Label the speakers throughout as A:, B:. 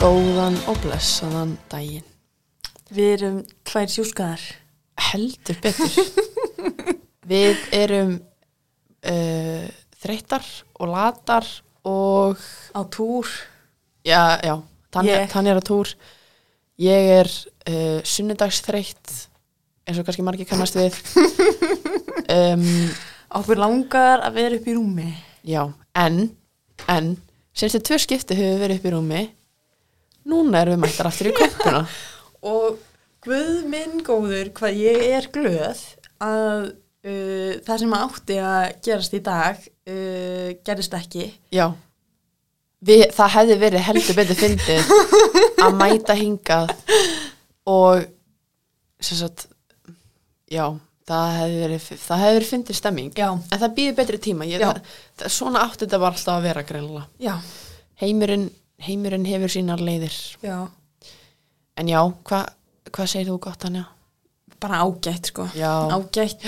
A: Góðan og blessaðan daginn.
B: Við erum tvær sjúskaðar.
A: Heldur betur. Við erum uh, þreyttar og latar og
B: Á túr.
A: já, já, Tanja,
B: Ég.
A: Tanja er að túr. Ég er uh, sunnudagsþreytt eins og kannski margir kannast við. Um,
B: Okkur langar að vera upp í rúmi.
A: já, en, en, senstu tvö skipti höfum við verið upp í rúmi. Núna erum við mættar aftur í kompuna.
B: Og guð minn góður hvað ég er glöð að uh, það sem átti að gerast í dag uh, gerist ekki.
A: Já Við, Það hefði verið heldur betur fyndið að mæta hingað og sem sagt já, það hefði verið það hefði verið fyndið stemming
B: Já.
A: en það býði betri tíma Ég,
B: Já.
A: það, það, svona átti þetta var alltaf að vera greinlega
B: Já.
A: heimurinn, heimurinn hefur sínar leiðir
B: Já.
A: en já, hva, hvað segir þú gott hann já?
B: Bara ágætt sko.
A: Já,
B: Ágætt.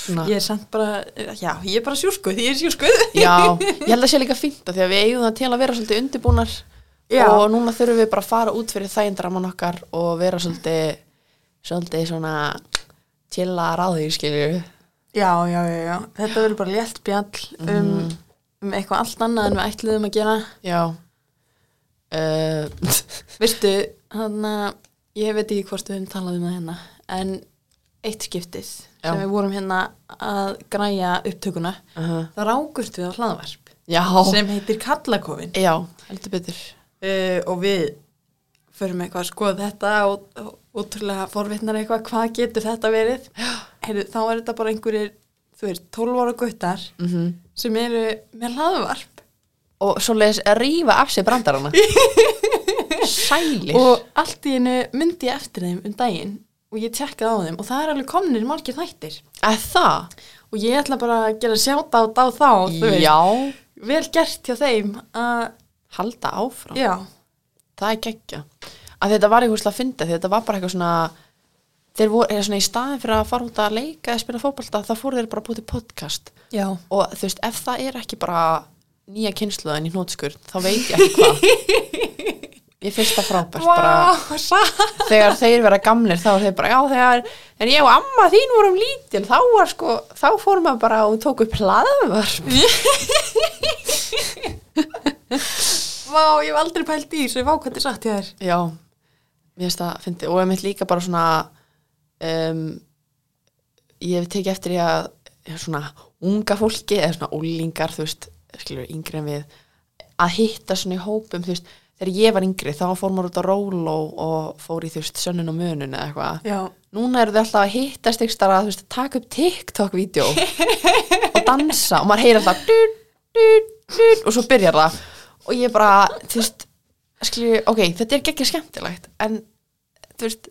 A: svona,
B: Ég er samt bara, uh, já, ég er bara sjúskuð, ég er sjúskuð.
A: já ég held að sé líka fínt að því að við eigum það til að vera svolítið undirbúnar
B: Já.
A: og núna þurfum við bara að fara út fyrir þægindraman okkar og vera svolítið svolítið svona chilla að ráði, skilju
B: Já, já, já, já. Þetta verður bara létt bjall um, um eitthvað allt annað en við ætluðum að gera.
A: já uh,
B: Vistu, hann ég veit ekki hvort við höfum talað um það hérna, en eitt skiptið
A: Já.
B: sem við vorum hérna að græja upptökuna,
A: uh -huh.
B: það rákust við á hlaðvarp
A: já,
B: sem heitir Kallakofin
A: já, heldur betur
B: uh, og við förum eitthvað að skoða þetta og, og útrúlega forvitnar eitthvað, hvað getur þetta verið? Heyrðu, þá er þetta bara einhverjir, þú veist, 12 ára guttar
A: mm
B: sem eru með hlaðvarp
A: og svolítið að rífa af sér brandarana sælir
B: og allt í einu myndi ég eftir þeim um daginn og ég tekkaði á þeim og það er alveg komnir margir þættir
A: að það,
B: og ég ætla bara að gera sjáta á þá þú veist,
A: já
B: vel gert hjá þeim að,
A: halda áfram,
B: já,
A: það er geggja að þetta var einhverslega að fyndi, þetta var bara eitthvað svona þeir voru, eða svona í staðin fyrir að fara út að leika eða spila fótbolta, þá fóru þeir bara að búið til podcast
B: já
A: og þú veist, ef það er ekki bara nýja kynsluðin í hnótskur þá veit ég ekki hvað ég finnst það frábært bara,
B: Vá, satt
A: þegar þeir vera gamlir þá er þeir bara, já þegar en ég og amma þín vorum lítil þá var sko, þá fórum maður bara og tók upp hlaðvar
B: Vá, ég hef aldrei pælt í þessu, vá hvað þið satt hjá þér
A: já, mér finnst það fyndi og ég mitt líka bara svona um, ég hef tekið eftir í að já, svona unga fólki eða svona úlingar, þú veist skilur yngri en við að hitta svona í hópum, þú veist þegar ég var yngri þá fór maður út á róló og fór í þú veist sönnun og munun eða eitthvað
B: Já,
A: núna eru þau alltaf að hittast ykkur starf að þú veist að taka upp TikTok-vídeó og dansa og maður heyrir alltaf dú, dú, dú, og svo byrjar það og ég bara, þú veist skilju, ok, þetta er ekki skemmtilegt en þú veist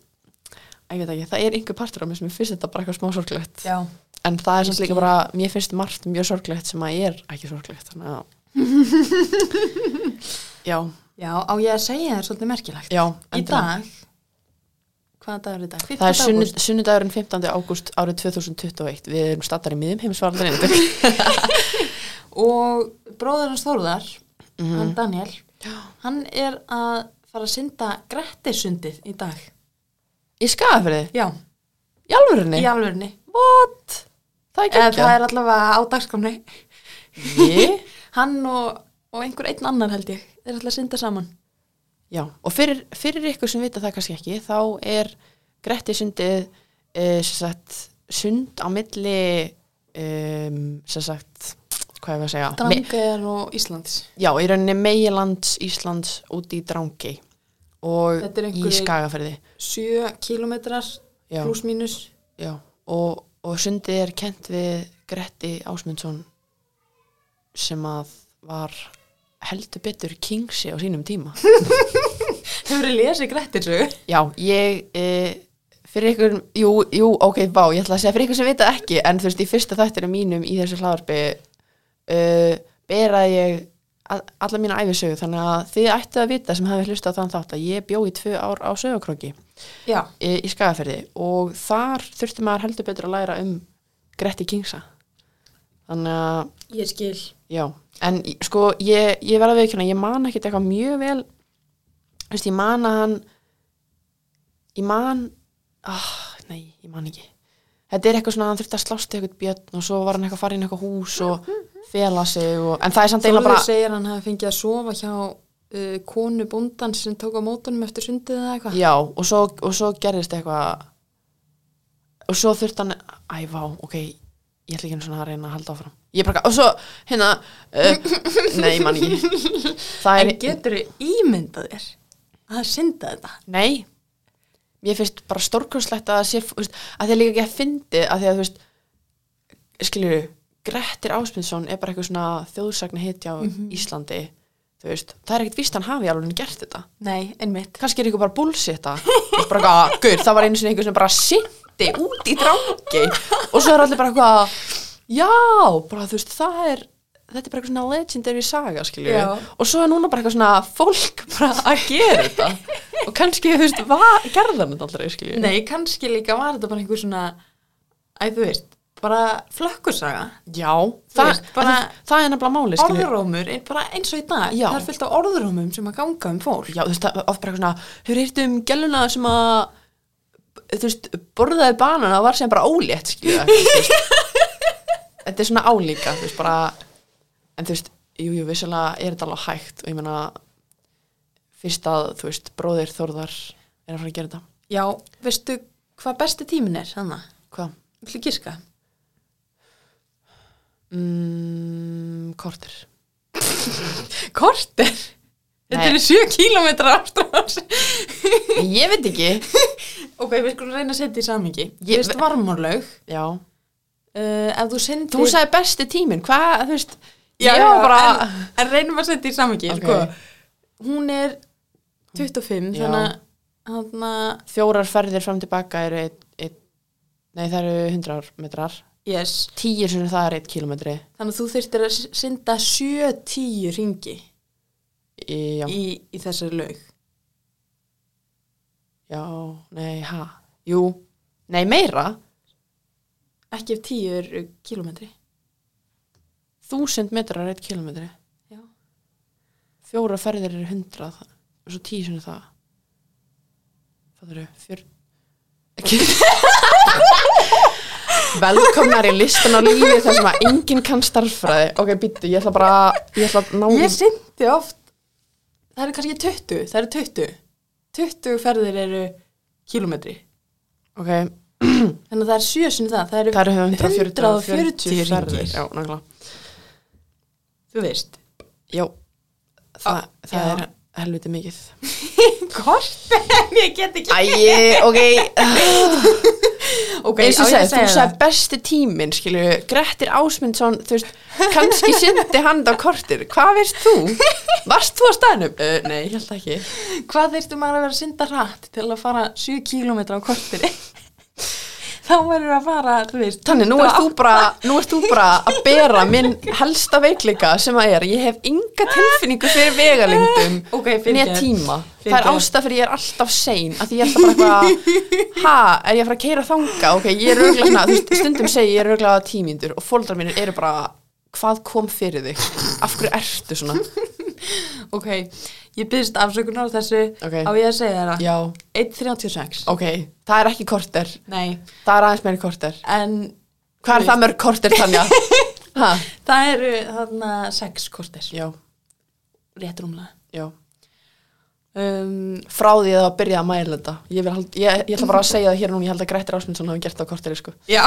A: að ég veit ekki, það er einhver partur á mér sem ég finnst þetta bara eitthvað smá sorglegt
B: já
A: en það er samt
B: skil.
A: líka bara, mér finnst margt mjög sorglegt sem að er ekki sorglegt þannig að já,
B: Já, á ég að segja þér svolítið merkilegt
A: já,
B: Í
A: endilega.
B: dag, hvaða dagur er í dag? 15.
A: Það er
B: ágúst.
A: sunnud, sunnudagurinn 15. ágúst árið 2021. Við erum stattar í miðum heimsvaraldarinn.
B: Og bróður hans Þórðar,
A: Mhm.
B: hann Daniel Hann er að fara að synda Grettisundið í dag
A: í skafrið?
B: Já,
A: Í alvörinni?
B: í alvörni
A: What? Það er
B: Eða
A: ekki
B: það er allavega á dagskamni
A: Ég?
B: Hann og, og einhver einn annar held ég Þeir ætla að synda saman
A: Já, og fyrir, fyrir ykkur sem vita það kannski ekki, þá er Grettisundið uh, sagt, sund á milli um, sem sagt, hvað er að segja? Me-
B: Drangar og Íslands
A: Já, í rauninni Meilands, Íslands, út í Drangi og
B: Þetta er
A: í
B: einhverjir-
A: Skagafyrði.
B: Sjö kilometrar
A: Já.
B: pluss mínus
A: Já, og, og sundið er kent við Gretti Ásmundsson sem að var heldur betur kingsi á sínum tíma.
B: Hefur þið lesið Grettisögu?
A: Já, ég, e, fyrir ykkur, jú, jú, ok, bá, ég ætla að segja fyrir ykkur sem vita ekki, en þú veist, í fyrsta þættinu mínum í þessu hlaðarpi uh, beraði ég a- alla mína æfisögu, þannig að þið ættu að vita sem hafi hlustað á þann þátt að ég bjó í tvö ár á sögurkróki.
B: Já
A: í í Skagafjörði og þar þurfti maður heldur betur að læra um Gretti Kingsa þannig að
B: Ég skil.
A: Já, en í- sko ég, ég verða við ekki ég man ekkert eitthvað mjög vel þú veist, ég man að hann ég man ah, nei, ég man ekki þetta er eitthvað svona að hann þurfti að slást eitthvað björn og svo var hann eitthvað að fara inn í eitthvað hús og fela sig og, en það er samt
B: Þóður
A: eiginlega bara
B: segir hann hafi fengið að sofa hjá uh, konu bóndan sem tók á mótunum eftir sundið eða eitthvað.
A: já, og svo, og svo gerðist eitthvað og svo þurfti hann æ, vá, ok, ég ætla ekki einu svona að reyna að halda áfram ég bara, og svo, hérna uh, nei, ég man ekki það
B: En getur þau ímyndað þér að það synda þetta?
A: Nei, mér finnst bara stórkurslegt að það sé, þú veist, að það er líka ekki að fyndi að því að, þú veist, skilur Grettir Ásmundsson er bara eitthvað svona þjóðsagna hitja á Íslandi, þú veist, það er ekkert víst að hann hafi alveg gert þetta.
B: Nei, einmitt.
A: Kannski er eitthvað bara bullsita, bara eitthvað, "Ah, gaur, það var einu sinni einhver sem bara sinti út í drangi og svo er allir bara eitthvað, já, bara þú veist, það er, þetta er bara eitthvað svona legendary saga, skilur
B: Já.
A: og svo er núna bara eitthvað svona fólk bara að gera þetta og kannski, þú veist, hvað gerðan þetta aldrei, skilju?
B: Nei, kannski líka var þetta bara einhver svona, æ, þú veist, bara flökkusaga.
A: Já, það,
B: veist, bara-
A: það, það er nefnilega máli, skilju.
B: Orðrómur er bara eins og í dag.
A: Já.
B: Það er fullt af orðrómum sem að ganga um fólk.
A: Já, þú veist, það- oft bara eitthvað svona, hefur hýrt um gæluna sem að, þú veist, borðaði banana og var sem bara ólétt, skilja, þú veist. Þetta er svona álíka, þú veist, bara, en þú veist, jú, jú, vissulega er þetta alveg hægt og ég meina, fyrst að, þú veist, bróðir Þórðar er að fara að gera þetta.
B: Já, veistu hvað besti tímin er, þannig?
A: Hvað?
B: Villu gíska?
A: Mm, kortir.
B: Kortir? Þetta
A: Nei.
B: eru 7 kílómetrar ástrás.
A: Ég veit ekki.
B: ok, við skulum reyna að setja í samingi.
A: Ég-
B: Ég veist varmorlaug.
A: Já.
B: Uh, ef þú syndir...
A: Þú sagði besti tíminn, hvað, þú veist,
B: Já,
A: ég
B: já,
A: var bara...
B: en, en reynum að setja í samingi,
A: Ok.
B: sko. Hún er 25,
A: Já.
B: þannig að hann að,
A: fjórar ferðir fram tilbaka eru eitt, eitt, nei það eru 100 metrar
B: yes,
A: tíu sem það er 1 kilometri
B: þannig að þú þyrftir að synda 7-10 ringi
A: í, já,
B: í, í þessari laug.
A: já, nei, ha jú, nei meira
B: Ekki ef 10 eru kílómetri.
A: 1000 metrar er 1 kilometri
B: Já.
A: fjórar ferðir eru 100 það- og svo tíu sem það það eru fjör velkomnar í listan á lífi þar sem að enginn kann starffræði ok, býttu, ég ætla bara ég ætla að ná
B: Ég syndi oft Það eru kannski 20, það eru 20 20 ferðir eru kílometri
A: ok,
B: Þannig að það er sjö sinni það Það eru,
A: það eru 140
B: 140
A: ferðir.
B: ferðir
A: já, nákvæmlega
B: Þú veist
A: Já, það,
B: Ah,
A: það
B: já.
A: er helviti mikið
B: Hvort en ég get ekki
A: Æi, ok
B: Ok,
A: Eins og
B: á ég
A: segir,
B: að
A: þú
B: segja
A: sagði besti tíminn, skilju Grettir Ásmundsson, þú veist kannski syndi hann á kortir Hvað veist þú? Varst þú á staðnum? Uh, nei, ég held ekki
B: það Hvað þyrftu maður að vera að synda hratt til að fara 7 kílómetra á kortir Þá verður að fara, þú veist
A: Þannig, nú ert þú bara, nú ert þú bara að bera minn helsta veikleika sem að er, ég hef enga tilfinningu fyrir vegalengdum
B: Ok,
A: Né
B: fyrirgefðu.
A: tíma. Það er
B: Fyrirgefðu.
A: ástæð fyrir ég er alltaf sein að því ég er alltaf bara eitthvað ha, er ég að fara að keira þanga? Ok, ég er örgulega svona, þú veist, stundum segi ég er örgulega tímindur og fóldrar mínir eru bara hvað kom fyrir þig? Af hverju ertu svona?
B: Ok, ég byrðist afsökunar á þessu
A: Ok.
B: Á ég að segja þér það
A: Já,
B: 1.36
A: ok, það er ekki korter
B: Nei,
A: það er aðeins meiri korter.
B: en
A: Hvað er það mörg korter, Tanja? Ha?
B: Það eru þarna sex kortir,
A: Já,
B: rétt rúmlega.
A: já.
B: Um,
A: Frá því að það byrjaði að mæla þetta. Ég, vil hald, ég, ég ætla bara að segja það hér núna, ég held að Grettir Ásmundsson hafi gert það á korteri, sko.
B: já.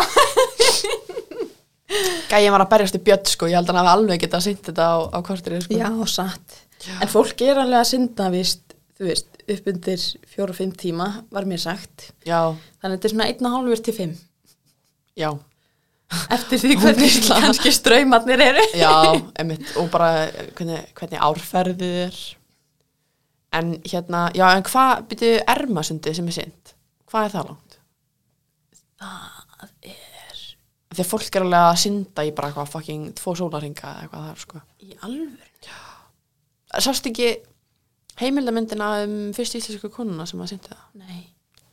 A: Gæði var að berjast í bjött, sko, ég held að hann hafi alveg getað sýnt þetta á, á korteri, sko.
B: Já, satt. En fólk er alveg að synda, víst, þú veist, upp undir fjóra og fimm tíma, var mér sagt.
A: Já,
B: Þannig að þetta er svona einn og hálfur til fimm.
A: já,
B: Eftir því hvernig
A: Ógeðslega.
B: kannski straumatnir eru.
A: já, emitt og bara eh, hvernig, hvernig árferðið er en hérna, já, en hvað byrju ermasundi sem er sint, hvað er það langt? Það er Þegar fólk er alveg að synda í bara eitthvað fucking tvo sólaringa eða eitthvað það er sko
B: Í alvöru?
A: Sást ekki heimildamyndina um fyrst íslensku konuna sem að synda það?
B: Nei.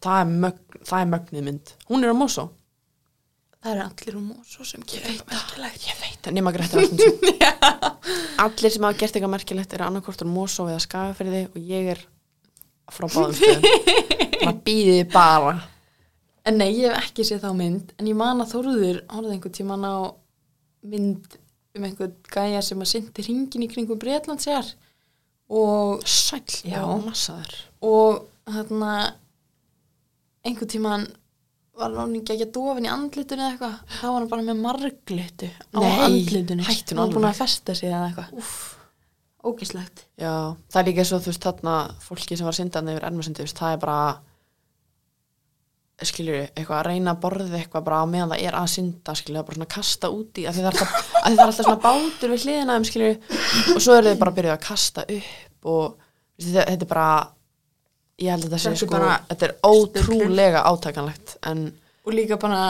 A: Það er, mögn, það er mögnuð mynd, hún er á Mosó
B: það eru allir um og svo sem gerir eitthvað merkilegt
A: Ég veit það, nema Greta Rasmussen Allir sem hafa gert eitthvað merkilegt eru annarkvort úr Mosó eða Skagafyrði og ég er frá báðum stöðum Það býði bara
B: en nei, ég hef ekki séð þá mynd en ég man að Þóruður horfði einhvern tíman á mynd um einhvern gæja sem að syndi ringin í kringum Breitlandsjar og
A: Sæll,
B: Já.
A: já, massaður
B: og hérna einhvern tíman var hann ekki ekki að dofin í andlitinu eða eitthvað þá var hann bara með marglitu á
A: Nei,
B: andlitinu
A: hættu nú
B: hann var búin
A: alveg.
B: að festa sig eða eitthvað Úff, ógislegt
A: Já, það er líka svo, þú veist, þarna fólki sem var syndan yfir ermasyndi, þú veist, það er bara skilur eitthvað að reyna að borða eitthvað bara á meðan það er að synda skilur, það er bara svona að kasta úti af því það er alltaf, af því það er alltaf svona bátur við hliðina þeim skilur, og svo eru þau bara að byrja að kasta upp og þú veist, þetta, þetta er bara ég held að þetta sé
B: Þetta er
A: sko,
B: bara
A: þetta er ótrúlega átakanlegt en
B: og líka bara,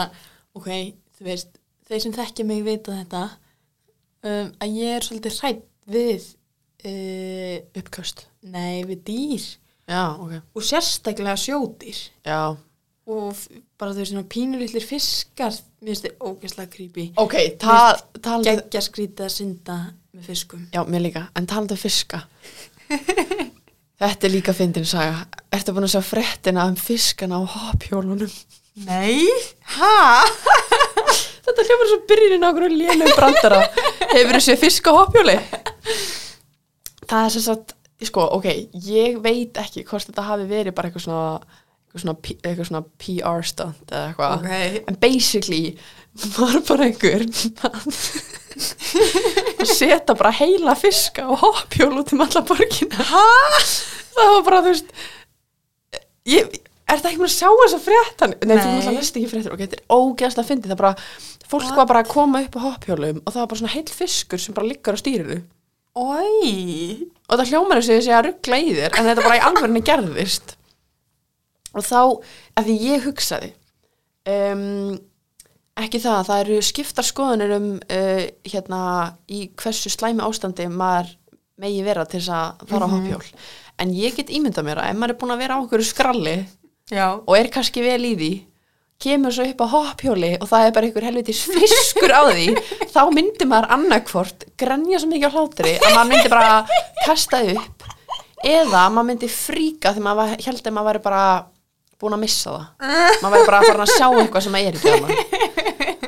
B: ok, þú veist þeir sem þekkja mig vita þetta um, að ég er svolítið hrætt við uh,
A: uppköst,
B: nei, við dýr
A: já, ok
B: og sérstaklega sjódýr
A: já,
B: og f- bara þau svona pínulitlir fiskar mér finnst þið ógislega creepy
A: ok, það talandi
B: geggja skrítið að synda með fiskum
A: Já, mér líka, en talandi um fiska Þetta er líka fyndin saga Ertu búin að sjá fréttina um fiskana á hoppjólunum?
B: Nei, hæ?
A: Þetta hljómar svo byrjunin á okkur lélum brandara Hefur þessi fisk á hoppjóli? Það er sem sagt Sko, ok, ég veit ekki hvort þetta hafi verið bara eitthvað svona eitthvað svona, P- eitthvað svona PR stunt eða eitthvað
B: Ok.
A: en basically var bara einhver að setja bara heila fiska og hoppjól út um alla borgina Hæ? Það var bara, þú veist ég, er það ekki mér að sjá þess að fréttan? Nei, þú
B: Nei.
A: náttúrulega veist ekki fréttir ok, þetta er ógeðast að fyndi, það er bara fólk var bara að koma upp á hoppjólum og það var bara svona heil fiskur sem bara liggur á stýrinu
B: Ói
A: og það hljómar þess að ég sé að ruggla í þér en þetta bara í alvörinu gerðist og þá, af því ég hugsaði um, ekki það, það eru skiptar skoðunir um uh, hérna í hversu slæmi ástandi maður megi vera til þess að fara á hoppjól en ég get ímyndað mér að ef maður er búin að vera á okkur skralli
B: Já
A: og er kannski vel í því kemur svo upp á hoppjóli og það er bara einhver helvitis fiskur á því þá myndi maður annarkvort grenja svo mikið á hlátri að maður myndi bara kasta upp eða maður myndi fríka þegar maður var- held að maður væri bara búin að missa það maður væri bara farin að sjá eitthvað sem maður er ekki annað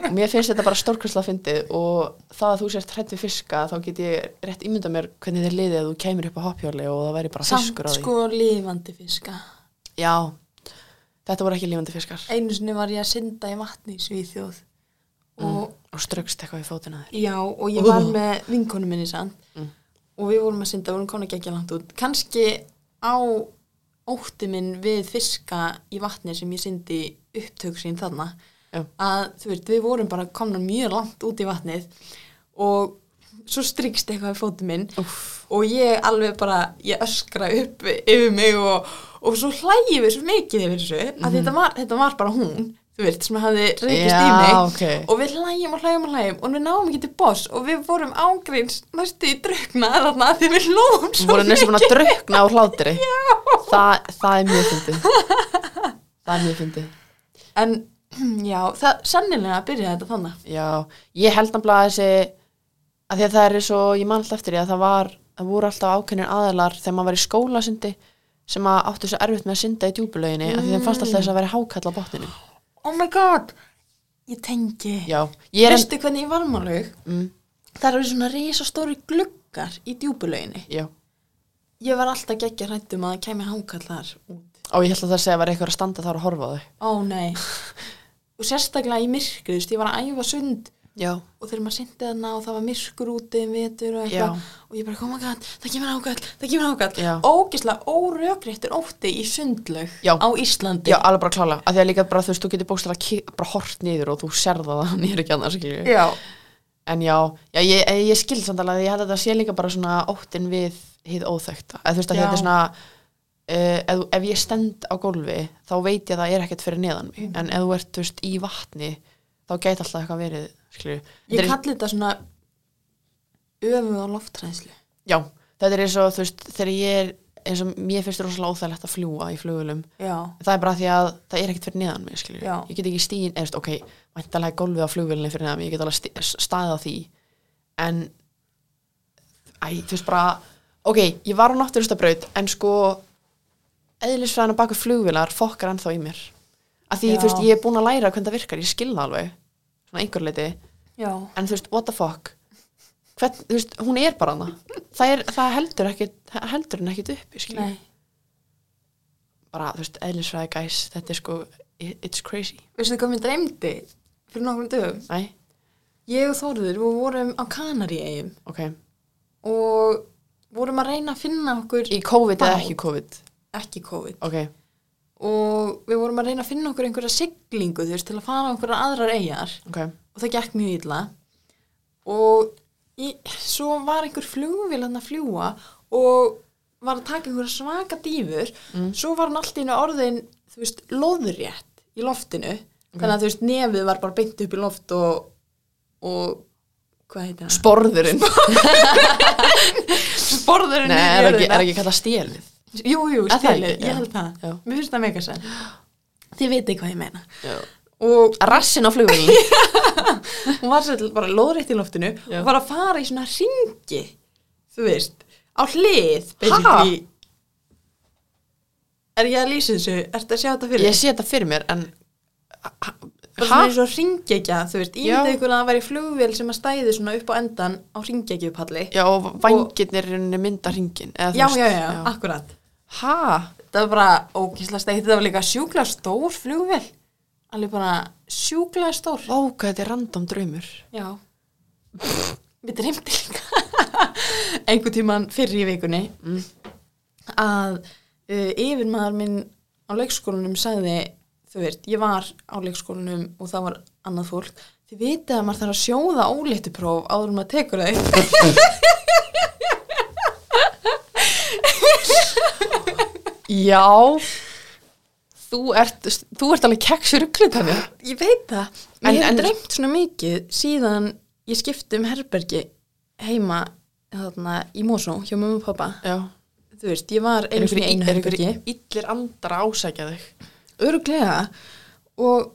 A: og mér finnst þetta bara stórkursla fyndið og það að þú sért hrætt við fiska þá get ég rétt ímynda mér hvernig þið liðið að þú kemur upp á hoppjóli og það væri bara
B: Samt
A: fiskur á því
B: sko lifandi fiska
A: já, þetta voru ekki lífandi fiskar
B: Einu sinni var ég að synda í vatni í Svíþjóð
A: Mm.
B: og
A: og ströggst eitthvað í fótinn að þér
B: já, og ég var með vinkonu minni samt
A: Mm.
B: og við vorum að synda, við vorum komin að gegja langt út kannski á ótti minn við fiska í vatni sem ég syndi upptök sín þarna
A: Já.
B: að þú veist, við vorum bara komna mjög langt út í vatnið og svo strikst eitthvað í fótum minn
A: Úff.
B: og ég alveg bara, ég öskra upp yfir mig og, og svo hlægjum við svo mikið yfir þessu
A: Mhm.
B: að þetta var, þetta var bara hún, þú veist, sem hafði reykist í
A: Já,
B: mig
A: ok.
B: og við hlægjum og hlægjum og hlægjum og við náum ekki til boss og við vorum ángreins næstu í drukna þarna af því við hlóðum
A: Þú
B: svo
A: voru næstu búin að draukna á hlátri
B: Já.
A: það, það er mjög fyndið Það er mjög fyndið
B: en já, það sennilega byrjaði þetta þannig
A: Já, ég held nefnilega að þessi að því að það er svo, ég man alltaf eftir því að það var, það voru alltaf ákveðnir aðilar þegar maður var í skólasundi sem að áttu svo erfitt með að synda í djúpulauginni mm. af því þeim fannst alltaf þess að vera hákall á botninu
B: oh my god, ég tengi
A: Já, ég er en,
B: veistu hvernig ég var málug
A: mm,
B: það eru svona risastóri gluggar í djúpulauginni
A: já
B: ég var alltaf geggja hrættum að það kæmi hákall þar út
A: og ég held að það segja að vera eitthvað að standa þar og horfa á þau
B: ó nei og sérstaklega í myrkrið, þú veist, ég var að æfa sund
A: Já,
B: og þegar maður syndi þarna og það var myrkur úti um vetur og eitthvað og ég bara koma gæt, það kemur ágætt, það kemur ágætt
A: Já.
B: ógislega órökréttur ótti í sundlaug
A: Já.
B: á Íslandi
A: Já, alveg bara klála, af því að líka bara þú veist, þú getur bókstæðlega bara hort niður og þú serða það nýr ekki annars, skilju.
B: Já.
A: En já, já ég, eh, ég- ég skil samt alveg, ég held að þetta sé líka bara svona óttin við hið óþökta. Eða þú veist að
B: Já.
A: þetta er svona, uh, ef, ef ég stend á gólfi, þá veit ég að það er ekkert fyrir neðan mig. En ef þú ert, þú veist, í vatni, þá gæti alltaf eitthvað verið, skilju.
B: ég kalli þetta svona öfuð á loftræðslu
A: Já, þetta er eins og þú veist, þegar ég er eins og mér finnst rosalega óþægilegt að fljúa í flugulum
B: já,
A: það er bara því að það er ekkert fyrir neðan mig skilur,
B: Já.
A: ég get ekki stíðin, eða þú veist, ok, væntalega gólfið á flugvölinni fyrir neðan mig, ég get alveg sti- staðið á því en æ, þú veist bara ok, ég var á náttúrustabraut en sko eðlisfræðan á baku flugvilar fokkar ennþá í mér af því,
B: Já.
A: þú veist, ég er búin að læra hvernig það virkar, ég skil það alveg svona einhver leiti,
B: já,
A: en þú veist, what the fuck Hvern, þú veist, hún er bara hana það, er, það heldur, ekkit, heldur hún ekkit uppi skilur
B: nei
A: bara, þú veist, eðlisfræði guys, þetta er sko, i- it's crazy.
B: veistu hvað mér dreymdi fyrir nokkrum dögum
A: Æ,
B: ég og Þórður, við vorum á Kanaríeigum
A: ok.
B: og vorum að reyna að finna okkur
A: Í COVID eða
B: Bát.
A: ekki COVID?
B: ekki COVID
A: Ok,
B: og við vorum að reyna að finna okkur einhverja siglingu þú veist, til að fara á einhverja aðrar eigjar
A: ok.
B: og það gekk mjög illa og í, svo var einhver flugvél hann að fljúa og var að taka einhverja svaka dýfur
A: Mm.
B: svo var hann allt í einu orðin þú veist, loðrétt í loftinu þannig að þú veist, nefið var bara beint upp í loft og, og hvað heitir það?
A: Sporðurinn.
B: Sporðurinn
A: Nei, er ekki, er ekki kallað stélið.
B: Jú, jú,
A: Er það
B: stilið,
A: ekki? Já.
B: ég held það
A: Já.
B: Mér finnst það mega senn Þið veitir hvað ég meina
A: Já.
B: og
A: Rassin á flugvölinni.
B: hún var sér bara loðrétt í loftinu
A: Já.
B: og var að fara í svona ringi þú veist, á hlið basically. er ég að lýsa þessu? Ertu að sjá þetta fyrir?
A: ég sé þetta fyrir mér, en...
B: bara
A: Ha?
B: svona eins og ringekja, þú veist
A: Já.
B: ímyndið ykkur að það væri flugvél sem að stæði svona upp á endan á ringekiupalli
A: Já, og vængirnir í rauninni mynda hringin. eða þú
B: já,
A: veist,
B: já, já, akkurat
A: Ha?
B: það var bara ókýrslega stæði þetta var líka sjúkla stór flugvél alveg bara sjúkla stór
A: Vá, hvað þetta er random draumur.
B: já við dreymdi líka einhver tíman fyrir í vikunni að uh, yfirmaður minn á leikskólanum sagði þú veist, ég var á leikskólanum og það var annað fólk þið vitið að maður þarf að sjóða óléttupróf áður en maður tekur þau
A: Já. Þú ert, þú ert alveg keksur uglið henni.
B: ég veit það,
A: En-
B: mér hefur
A: en-
B: dreymt svona mikið síðan ég skipti um herbergi heima þarna, í Mosó hjá mömmu og pappa
A: Já.
B: þú veist, ég var
A: Er
B: einu
A: ykkur,
B: sinni í einu
A: er ykkur
B: herbergi
A: illir andra að ásækja þig?
B: öruglega og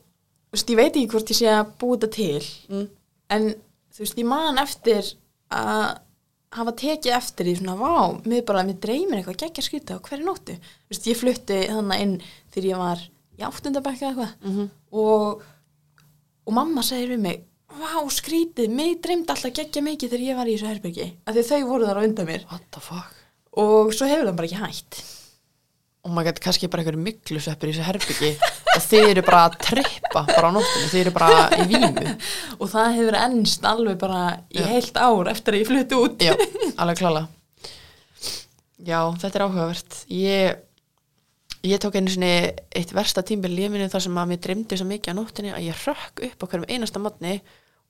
B: þú veist, ég veit ekki hvort ég sé að búa þetta til
A: Mm.
B: en þú veist, ég man eftir að hafa tekið eftir í svona vá, mér bara, mér dreymir eitthvað geggja skrýta á hverju nóttu þú veist, ég flutti þannig inn þegar ég var í áttundabækka eitthvað -hmm. og, og mamma segir við mig vá, skrýtið, mig dreymdi alltaf geggja mikið þegar ég var í þessu herbergi af því að þau voru þar á undan mér
A: What the fuck?
B: og svo hefur það bara ekki hætt
A: og maður getur Oh kannski bara einhverju myglusveppir í þessu herbyggi og þeir eru bara að trippa bara á nóttinu, þeir eru bara í vímu
B: og það hefur ennst alveg bara í
A: Já.
B: heilt ár eftir að ég flutti út
A: já, alveg klála já, þetta er áhugavert ég, ég tók einu sinni eitt versta tímbil lífinu þar sem að mér dreymdi svo mikið á nóttinu að ég hrökk upp á hverjum einasta matni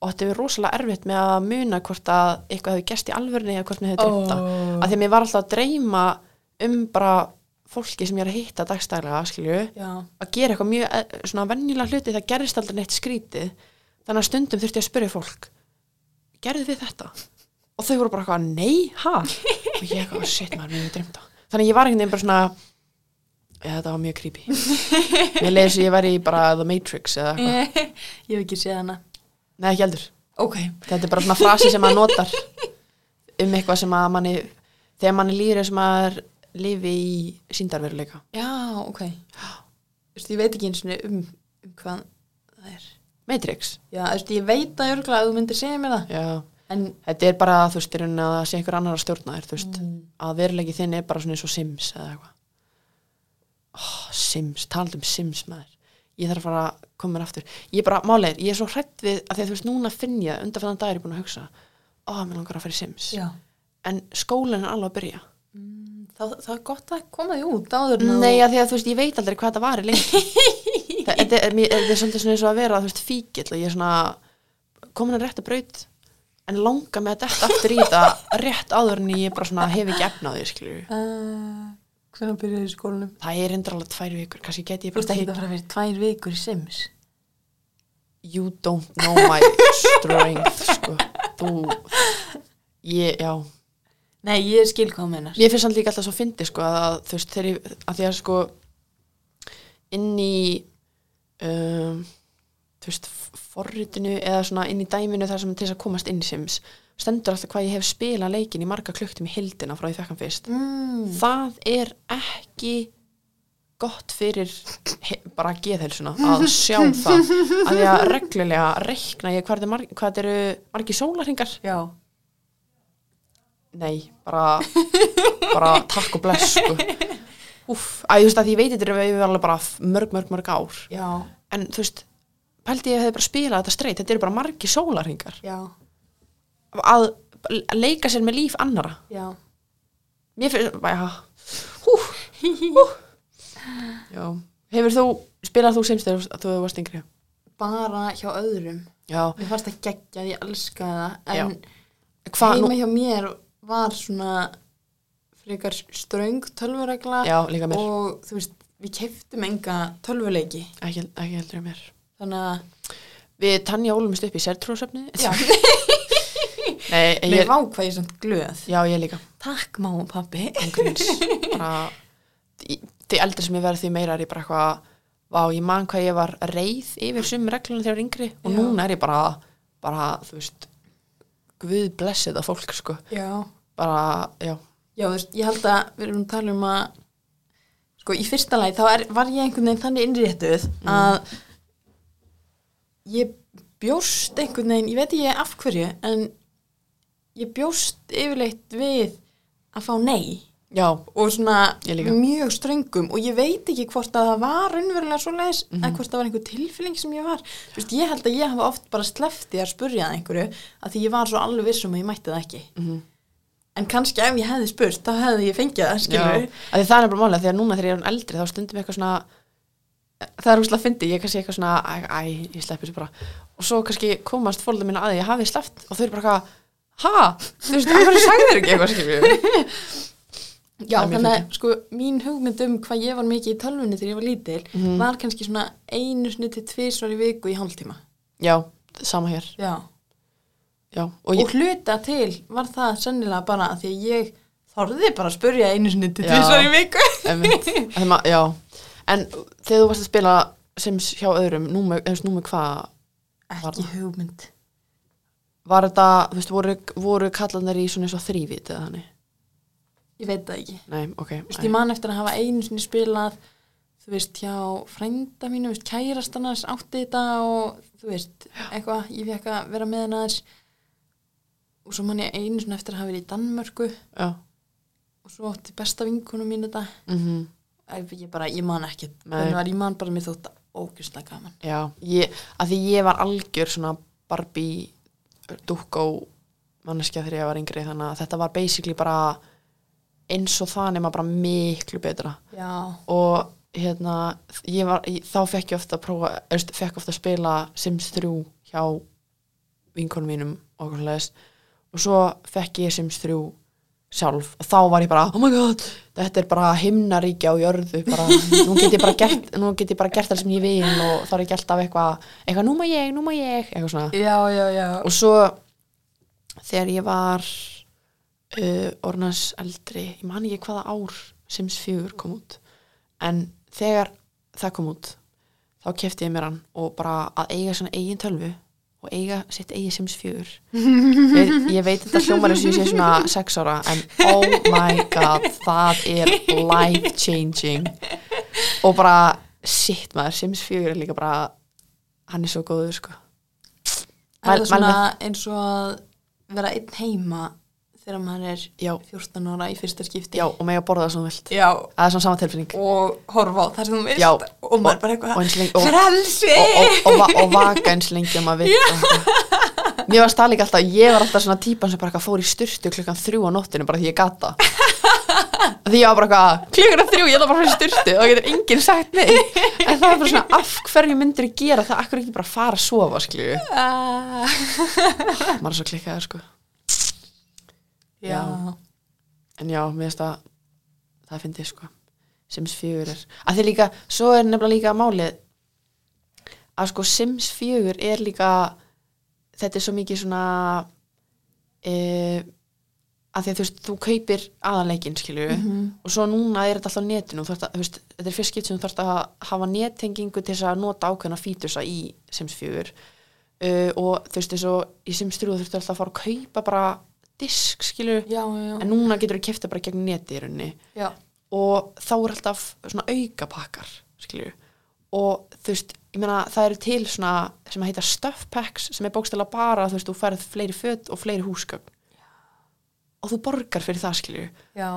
A: og þetta er rosalega erfitt með að muna hvort að eitthvað hefur gerst í alvörni eða hvort mér hefur dreymt það
B: Ó.
A: oh. að því að mér var alltaf að dreyma um bara fólki sem ég er að hitta dagstælega, skilju
B: Já,
A: að gera eitthvað mjög eh, svona venjulega hluti það gerist aldrei neitt skrítið þannig að stundum þurfti ég að spyrja fólk gerðu þið þetta? og þau voru bara eitthvað, nei, ha? og ég eitthvað, "Oh, shit maður, mér hefur dreymt á þannig að ég var einhvern veginn bara svona eða þetta var mjög creepy mér leiði svo ég væri í bara The Matrix eða eitthvað,
B: ég hef ekki séð hana
A: nei ekki heldur
B: Ok,
A: þetta er bara svona frasi sem maður notar um eitthvað sem að manni þegar manni líður sem maður lifi í síndarveruleika
B: já, ok Þú veist, ég veit ekki eins og um, um hvað það er
A: Matrix,
B: Já, þú veist, ég veit að örgulega að þú myndir segja mér það
A: já
B: En,
A: þetta er bara þú veist, í rauninni að það sé einhver annar að stjórna þér þú veist,
B: mm,
A: að veruleiki þinn er bara svona eins og Sims eða eitthvað oh, Sims, talað um Sims maður ég þarf að fara að koma mér aftur ég bara, málið, er, ég er svo hrætt við að því að þú veist, núna finn ég, undanfæðan dag er ég búin að hugsa ó, oh, mér langar að fara í Sims
B: já
A: en skólinn er alveg að byrja
B: Það, það er gott að koma því út áður en að
A: nei,
B: þú-
A: að því að þú veist, ég veit aldrei hvað þetta var lengi það þetta er, mér- þetta er svolítið svona eins og að vera þú veist, fíkill og ég er svona komin að rétta braut en langa með þetta aftur í þetta rétt áður en ég bara svona hef ekki efna á því skilju
B: uh, Hvernig byrjaði í skólanum?
A: það er endur alveg tvær vikur, kannski geti ég
B: Þú hérna. veist
A: bara tekið
B: ekki að fara fyrir tvær vikur í Sims
A: you don't know my strength sko, þú ég, já,
B: Nei, ég skil hvað hún meinar.
A: Mér finnst hann líka alltaf svo fyndi sko að, að þú veist þegar ég, að því að sko inn í um, þú veist forritinu eða svona inn í dæminu þar sem til þess að komast inn í sims stendur alltaf hvað ég hef spilað leikin í marga klukktum í hildina frá ég fekk hann fyrst
B: Mm.
A: það er ekki gott fyrir he- bara geðhelsuna að sjá það að því að reglulega rekna ég hvað þetta er marg- hvað þetta eru margi sólarhingar
B: Já.
A: nei, bara bara takk og bless sko. Úff, að þú veist að ég veit þetta er alveg bara mörg, mörg, mörg ár
B: Já.
A: en þú veist, pældi ég að hefði bara spilað þetta streitt, þetta eru bara margi sólarhingar
B: Já.
A: að leika sér með líf annara
B: Já.
A: mér finnst, bara, hú, hú já, hefur þú spilað þú semst þegar þú- þú varst yngri
B: Bara hjá öðrum.
A: já,
B: Mér fannst það geggja, ég elskaði það. En
A: hvað nú
B: heima hjá mér var svona frekar ströng tölvuregla
A: já, líka mér,
B: og þú veist, við keftum enga tölvuleiki.
A: ekki, ekki heldur en mér
B: Þannig að,
A: við Tanja ólumist upp í sértrúasöfni
B: já,
A: nei,
B: mér
A: ég,
B: vákvað ég samt glöð.
A: já, ég líka
B: Takk, máma og pappi.
A: ángríns bara, í- því eldri sem ég verð því meira er ég bara eitthvað vá, ég man hvað ég var reið yfir sum reglunum þegar ég var yngri og
B: Já.
A: núna er ég bara, bara þú veist guð blessi það fólk sko
B: Já.
A: bara, já,
B: Já, þú veist, ég held að við erum að tala um að sko, í fyrsta lagi þá er, var ég einhvern veginn þannig innréttuð að ég bjóst einhvern veginn, ég veit ekki af hverju en ég bjóst yfirleitt við að fá nei
A: já,
B: og svona
A: Ég líka.
B: mjög ströngum og ég veit ekki hvort að það var raunverulega svoleiðis
A: Mhm.
B: eða hvort það var einhver tilfilling sem ég var Þú veist, ég held að ég hafa oft bara sleftið að spurja það einhverju að því ég var svo alveg vissum að ég mætti það ekki
A: Mhm.
B: en kannski ef ég hefði spurt þá hefði ég fengið það
A: já.
B: skilur
A: Að því það er bara málega því að núna þegar ég er orðin eldri þá stundum ég eitthvað svona það er úslega fyndi, ég er kannski eitthvað svona æ, æ, ég sleppi þessu bara og svo kannski komast fólðum minna að því ég hafi sleppt og þau eru bara eitthvað, ha, þú veist, af hverju sagði þér ekki eitthvað skilju
B: Já,
A: Það er mjög
B: þannig að sko, mín hugmynd um hvað ég var mikið í tölvunni þegar ég var lítil
A: Mhm.
B: var kannski svona einu sinni til tvisvar í viku í hálftíma
A: já, sama hér,
B: Já.
A: já, og
B: Og,
A: ég,
B: hluta til var það sennilega bara að því að ég þorði bara að spurja einu sinni til
A: Já.
B: tvisvar í viku
A: Einmitt. Þeim að, já, en þegar þú varst að spila Sims hjá öðrum, nú með, þú veist, nú með hvað Var
B: Ekki
A: það?
B: hugmynd
A: var þetta, þú veist, voru, voru kallandar í svona eins og þrývit eða þannig?
B: Ég veit það ekki
A: Nei, ok.
B: Þú veist, Ég man eftir að hafa einu sinni spilað þú veist, hjá frænda mínu þú veist, kærastan hans átti þetta og þú veist, eitthvað, ég fekk að vera með hann aðeins og svo man ég einu sinni eftir að hafa verið í Danmörku
A: Já,
B: og svo átti besta vinkunum mín þetta
A: mhm.
B: Æ, ég bara, ég man ekki
A: Nei.
B: hvernig var, ég man bara mér þótt ógjuslega gaman
A: Já, ég, að því ég var algjör svona Barbie dúkkó manneskja þegar ég var yngri þannig að þetta var basically bara eins og það nema bara miklu betra
B: já,
A: og hérna ég var, ég, þá fekk ég ofta að prófa erst, fekk ofta að spila Sims 3 hjá vinkonum mínum og okkur leðis og svo fekk ég Sims 3 sjálf og þá var ég bara, oh my god þetta er bara himnaríkja á jörðu bara, nú get ég bara gert, nú get ég bara gert það sem ég vil og þá er ég gert af eitthvað eitthvað, nú má ég, nú má ég, eitthvað svona
B: já, já, já
A: og svo þegar ég var uh, orðnans eldri ég man ekki hvaða ár Sims 4 kom út en þegar það kom út þá kefti ég mér hann og bara að eiga svona eigin tölvu og eiga sitt eigin Sims 4 ég, ég veit þetta hljómar eins og ég sé svona 6 ára en oh my god það er life changing og bara sitt maður Sims 4 er líka bara hann er svo góður sko
B: er
A: mæl-
B: það svona eins og að vera einn heima þegar maður er
A: já
B: 14 ára í fyrsta skipti
A: Já, og mega borða það sem þú vilt
B: Já,
A: Það er svona sama tilfinning og,
B: og horfa á það sem þú veist
A: Já.
B: og maður bara
A: Og eins lengi- og-
B: eitthvað frelsi
A: og, og, va og vaka eins lengi að maður vill og eitthvað. Mér varst það líka alltaf Ég var alltaf svona típan sem bara eitthvað fór í styrtu klukkan þrjú á nóttinu bara því ég gata Því ég var bara eitthvað "Ah." klukkan er þrjú, ég ætla bara að fara í styrtu og það getur enginn sagt nei En það er bara svona, af hverju myndir ég gera það Akkur ekki bara fara að sofa, skilju
B: Ah,
A: Maður er svo klikkaður, sko
B: já.
A: Já. en já, mér finnst það það finnst ég sko Sims 4 er, að því líka svo er nefnilega líka málið að sko Sims 4 er líka þetta er svo mikið svona e, að að því að þú veist, þú kaupir aðanleikin skilju og svo núna er þetta alltaf á netinu og þú þarft að, þú veist, þetta er fyrst skipt sem þú þarft að hafa nettengingu til þess að nota ákveðna fítusa í Sims 4 uh, og þú veist, þess og í Sims 3 þurftu alltaf að fara að kaupa bara disk skilju,
B: já, já,
A: en núna getur þú kefta bara gegn neti í rauninni
B: já,
A: og þá er alltaf svona aukapakkar skilju og þú veist, ég meina það eru til svona sem að heita stuff packs sem er bókstæla bara þú veist, þú færð fleiri föt og fleiri húsgögn og þú borgar fyrir það skilju
B: já,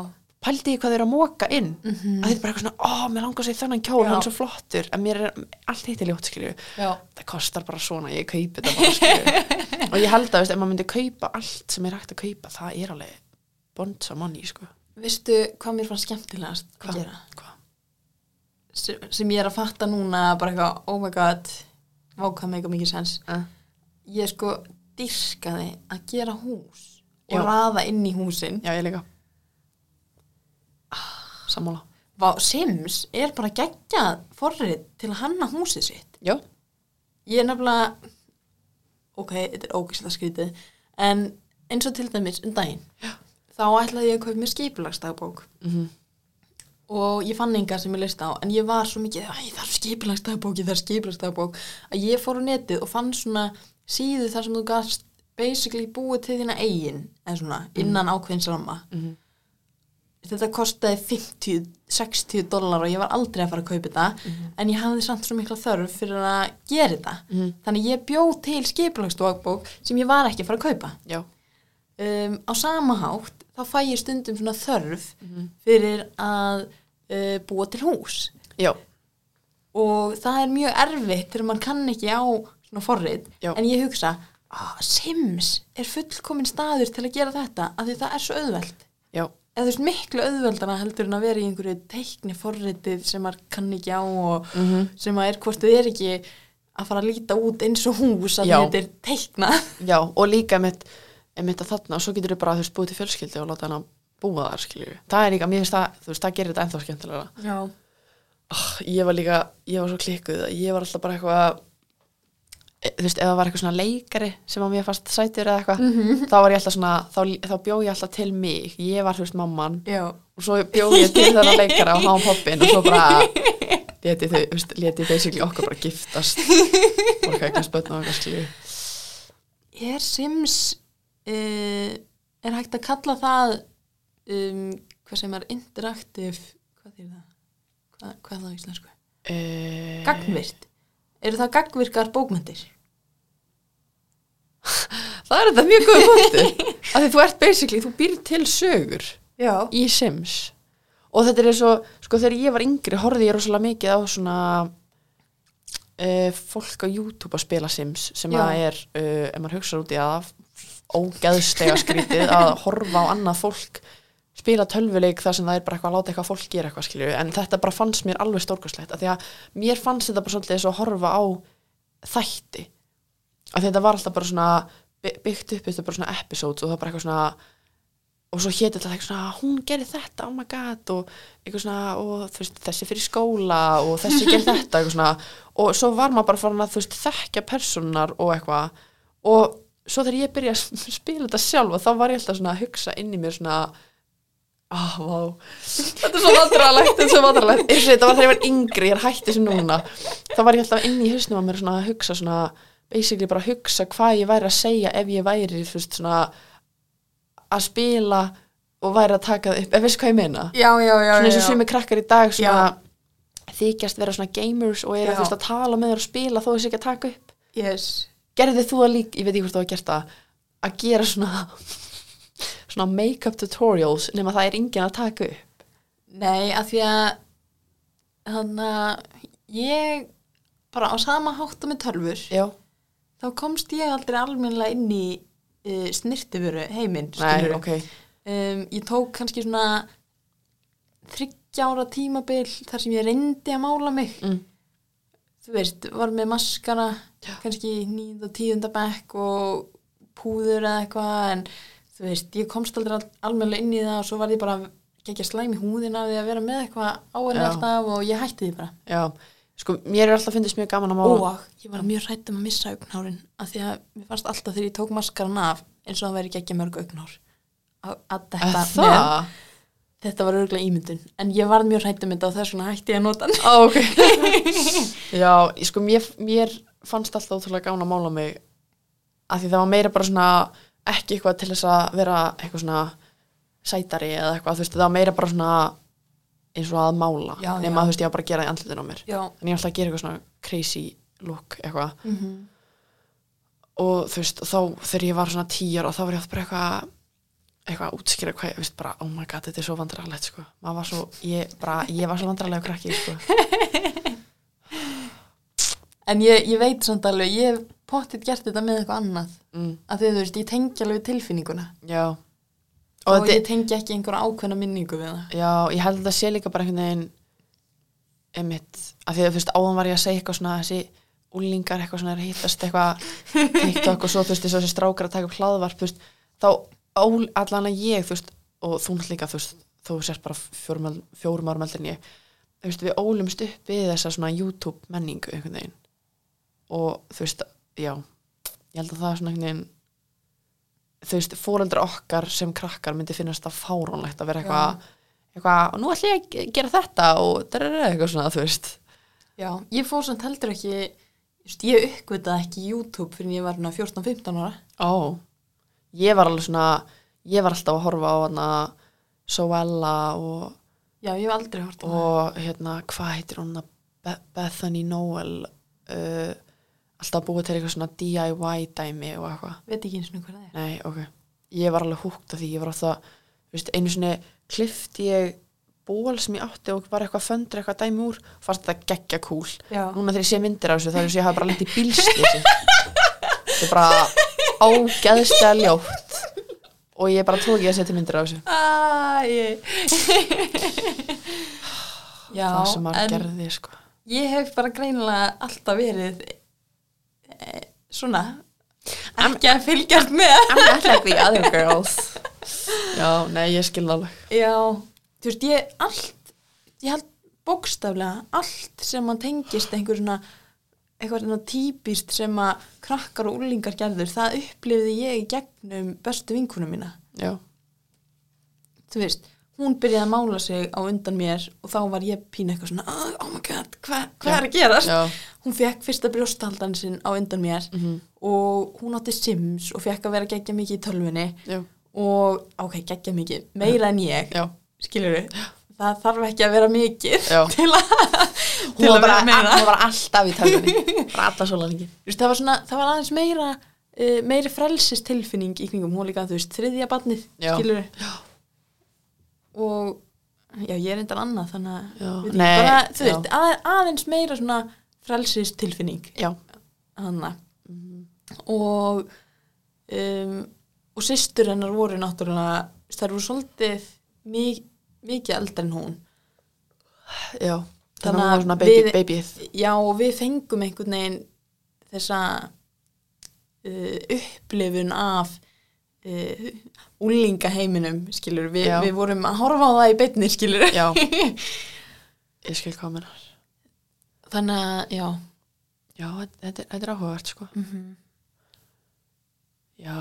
A: pældi ég hvað þau eru að móka inn að þetta er bara eitthvað svona, ó, mér langar sér þannan kjól
B: Já.
A: hann er svo flottur, en mér er allt hitt er ljótt skilju,
B: já,
A: það kostar bara svona ég kaupi þetta bara skilju og ég held að, veist, ef maður myndi kaupa allt sem er hægt að kaupa, það er alveg bonsa money, sko
B: Vistu hvað mér fannst skemmtilegast að gera?
A: Hva?
B: Sem, sem ég er að fatta núna bara eitthvað, oh my god, vákað mega mikið sens.
A: Uh.
B: Ég sko dyrkaði að gera hús og
A: Já.
B: raða inn í húsin.
A: Já, ég líka Sammála
B: Vá, Sims er bara geggjað forrið til að hanna húsið sitt.
A: Já,
B: Ég er nefnilega, ok, þetta er ógislega skrítið, en eins og til dæmis um daginn, Já. þá ætlaði ég að kaupa mér skipulagsdagbók.
A: Mhm.
B: Og ég fann enga sem ég leist á, en ég var svo mikið, æ, það er skipulagsdagbók, það er skipulagsdagbók, að ég fór á netið og fann svona síðu þar sem þú gast basically búið til þína eigin, en svona, innan ákveðins ramma.
A: Mhm.
B: Þetta kostaði 50, 60 dólar og ég var aldrei að fara að kaupa þetta, en ég hafði samt svo mikla þörf fyrir að gera þetta.
A: Mhm.
B: Þannig ég bjóð til skipulagsdagbók sem ég var ekki að fara að kaupa
A: já,
B: um, á sama hátt þá fæ ég stundum svona þörf fyrir að uh, búa til hús
A: já,
B: og það er mjög erfitt þegar maður kann ekki á svona forrið
A: Já.
B: en ég hugsa, ah, Sims er fullkomin staður til að gera þetta af því það er svo auðvelt
A: já
B: eða þú veist miklu auðveldana heldur en að vera í einhverju teikni forritið sem maður kann ekki á og
A: Mhm.
B: sem maður er hvort þið er ekki að fara að líta út eins og hús að
A: Já.
B: þetta er teiknað
A: Já, og líka mitt, mitt að þarna og svo getur þú bara, þú veist, búið til fjölskyldi og láta hana búa þar, skilju Það er líka, mér finnst það, þú veist, það gerir þetta ennþá skemmtilega
B: Já,
A: oh, Ég var líka, ég var svo klikkuð að ég var alltaf bara eitthvað e, þú veist, ef það var eitthvað svona leikari sem að mér fannst sætur eða eitthvað þá var ég alltaf svona, þá, þá bjó ég alltaf til mig ég var, þú veist, mamman
B: já
A: og svo bjóð ég til þennan leikara og hann poppin og svo bara leti þau, þú veist, leti basically okkur bara giftast og eitthvað spötna og eitthvað skilju
B: Er Sims uh, er hægt að kalla það um, hvað sem er interaktiv hvað þýr það? Hvað, hvað er það á íslensku?
A: e...
B: Gagnvirt. Eru það gagnvirkar bókmyndir?
A: það er þetta mjög góð punktur af því þú ert basically, þú býr til sögur
B: Já.
A: í Sims og þetta er svo, sko þegar ég var yngri horfði ég rosalega mikið á svona e, fólk á YouTube að spila Sims sem
B: Já.
A: að er, e, ef maður hugsa út í að ógeðslega skrítið að horfa á annað fólk spila tölvuleik þar sem það er bara eitthvað að láta eitthvað fólk gera eitthvað skilju en þetta bara fannst mér alveg stórkastlegt af því að mér fannst þetta bara svolítið eins og að horfa á þætti að þetta var alltaf bara svona by- byggt upp þetta bara svona episodes og það var bara eitthvað svona og svo héti alltaf eitthvað svona "Ah, hún gerir þetta, oh my god og eitthvað svona, og þú veist, þessi fyrir skóla og þessi gerir þetta, eitthvað svona og svo var maður bara farin að, þú veist, þekkja personar og eitthvað og svo þegar ég byrja að spila þetta sjálf þá var ég alltaf svona að hugsa inn í mér svona ah, vá þetta er svo vandralegt, þetta er svo vandralegt eins og þetta var þegar ég var yngri, ég er hætti sem núna þá var ég alltaf inn í hausnum að mér svona að hugsa svona, basically bara að hugsa hvað ég væri að segja ef ég væri þú veist, svona að spila og væri að taka það upp, ef veist hvað ég meina
B: Já, já, já.
A: svona eins og
B: já.
A: sumi krakkar í dag svona þykjast vera svona gamers og eru
B: Já.
A: þú veist að tala með þér og spila þó þessi ekki að taka upp
B: Yes.
A: gerði þú að líka, ég veit ekki hvort þú hafa gert það að gera svona svona make-up tutorials nema það er enginn að taka upp
B: Nei, af því að þannig að ég bara á sama hátta með tölfur
A: já,
B: þá komst ég aldrei almennilega inn í uh, snirtifuru heiminn.
A: nei,
B: skilurðu.
A: ok
B: um, ég tók kannski svona þryggja ára tímabil þar sem ég reyndi að mála mig
A: mm.
B: þú veist, var með maskara
A: Já.
B: kannski nýð og tíunda bekk og púður eða eitthvað en þú veist, ég komst aldrei al almennilega inn í það og svo var ég bara ekki að slæmi húðina því að vera með eitthvað á henni
A: Já.
B: alltaf og ég hætti því bara
A: já, sko, mér er alltaf fyndist mjög gaman að mála
B: og ég var mjög hrætt um að missa augnárin af því að mér fannst alltaf þegar ég tók maskaran af eins og það væri ekki ekki mörg augnár að, að
A: Er
B: detta með
A: það?
B: þetta var örgulega ímyndun en ég varð mjög hrætt um þetta og þess vegna hætti ég að nota hann
A: Á, ok. Já, ég sko, mér, mér fannst alltaf ótrúlega gána að mála mig af því það var meira bara svona ekki eitthvað til þess að vera eitthvað svona sætari eða eitthvað, þú veist, það var meira bara svona eins og að mála
B: Já,
A: nema
B: já.
A: þú veist, ég var bara að gera það í andlutin á mér
B: já,
A: en ég var alltaf að gera eitthvað svona crazy look eitthvað
B: mm
A: og þú veist, þá þegar ég var svona tíjar og þá var ég oft bara eitthvað eitthvað að útskýra hvað, ég veist bara, oh my god, þetta er svo vandrarlegt, sko, maður var svo ég, bara, ég var svo vandrarlega krakki, sko
B: en ég, ég veit samt alveg ég hef pottitt gert þetta með eitthvað annað
A: mm,
B: að því að þú veist, ég tengi alveg tilfinninguna
A: já og,
B: og,
A: þetta,
B: ég tengi ekki einhverja ákveðna minningu við það
A: já, ég held að þetta sé líka bara einhvern veginn einmitt, af því að þú veist, áðan var ég að segja eitthvað svona þessi úlingar eitthvað svona er að hittast eitthvað TikTok og svo þú veist, þess að þessi strákar að taka upp hlaðvarp, þú veist, þá ól, allan að ég, þú veist, og þú náttúrulega líka, þú veist, þú sért bara fjórum, ál- fjórum árum eldri en ég, þú veist, við ólumst upp við þessa svona YouTube menningu einhvern veginn og þú veist, já, ég held að það er svona einhvern veginn þú veist, fóreldra okkar sem krakkar myndi finnast það fáránlegt að vera eitthvað eitthvað, og nú ætlum ég að gera þetta og það er eitthvað svona, þú veist
B: já, ég fór samt heldur ekki þú veist, ég uppgötaði ekki YouTube fyrir en ég var 14-15 ára
A: Ó, ég var alveg svona ég var alltaf að horfa á hana Soella og,
B: já, ég hef aldrei hort á það
A: og hérna, hvað heitir hún Be Bethany Noel uh, alltaf að búa til eitthvað svona DIY dæmi og eitthvað
B: veit ekki eins og hvað það er
A: Nei, ok. Ég var alveg húkt af því, ég var alltaf, þú veist, einu sinni klifti ég ból sem ég átti og var eitthvað föndur eitthvað dæmi úr, fannst þetta geggja kúl.
B: já,
A: Núna þegar ég sé myndir af þessu, þá er þess að ég hafa bara lítið bílslýsi. Þetta er bara ágeðslega ljótt og ég bara tók ég að setja myndir af þessu.
B: Æ. já
A: Það sem maður
B: en
A: gerði, sko.
B: ég hef bara greinilega alltaf verið e, svona ekki að fylgjast með
A: I'm not like the other girls. Já, nei, ég skilði alveg.
B: já, þú veist ég allt, ég held bókstaflega allt sem mann tengist einhver svona eitthvað svona típist sem að krakkar og úlingar gerður, það upplifði ég í gegnum bestu vinkunum mína
A: Já,
B: þú veist, hún byrjaði að mála sig á undan mér og þá var ég pína eitthvað svona "Ah, oh my god, hvað hva er að gerast
A: já, mhm,
B: hún fekk fyrsta brjóstaldan sinn á undan mér og hún átti Sims og fekk að vera geggja mikið í tölvunni
A: já,
B: og ok, geggja mikið, meira en ég
A: já.
B: skilur við, það þarf ekki að vera mikið
A: Já.
B: til að
A: Hún
B: til
A: var
B: að
A: bara,
B: vera meira
A: hún var alltaf í tæminni. Bara alla svo lengi.
B: Þú veist, það, var svona, það var aðeins meira uh, meiri frelsistilfinning í kringum hún var líka, þú veist, þriðja barnið
A: Já.
B: skilur við og já, ég er endar annað þannig að,
A: Já.
B: veit ekki,
A: Nei,
B: bara, þú
A: já.
B: veist, að, aðeins meira svona frelsistilfinning
A: Já, mhm,
B: hana og um, og systur hennar voru náttúrulega þú veist, þær voru svolítið mik mikið eldar en hún
A: já. Þannig að
B: Þannig
A: hún var
B: að
A: svona baby,
B: við-
A: babyið.
B: já og við fengum einhvern veginn þessa uh, upplifun af uh, úlingaheiminum skilur, Vi,
A: Já.
B: við vorum að horfa á það í beinni skilur
A: Já. Ég skil hvað minnar.
B: þannig að, já
A: Já, þetta, er- þetta er áhugavert, sko.
B: mm -hmm.
A: Já.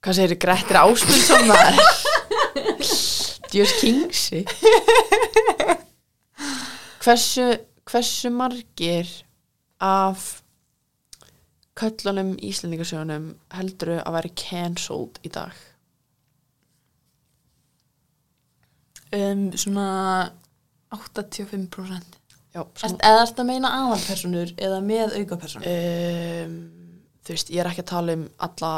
A: Hvað segir þið, Grettir Ásmundsson maður? Djörs Kingsi. Hversu, hversu margir af köllunum í Íslendingasjónum heldur að væri cancelled í dag?
B: um, svona 85%
A: Já, sko,
B: Ert, eða ertu að meina aðalpersonur eða með aukapersonur?
A: um, þú veist, ég er ekki að tala um alla,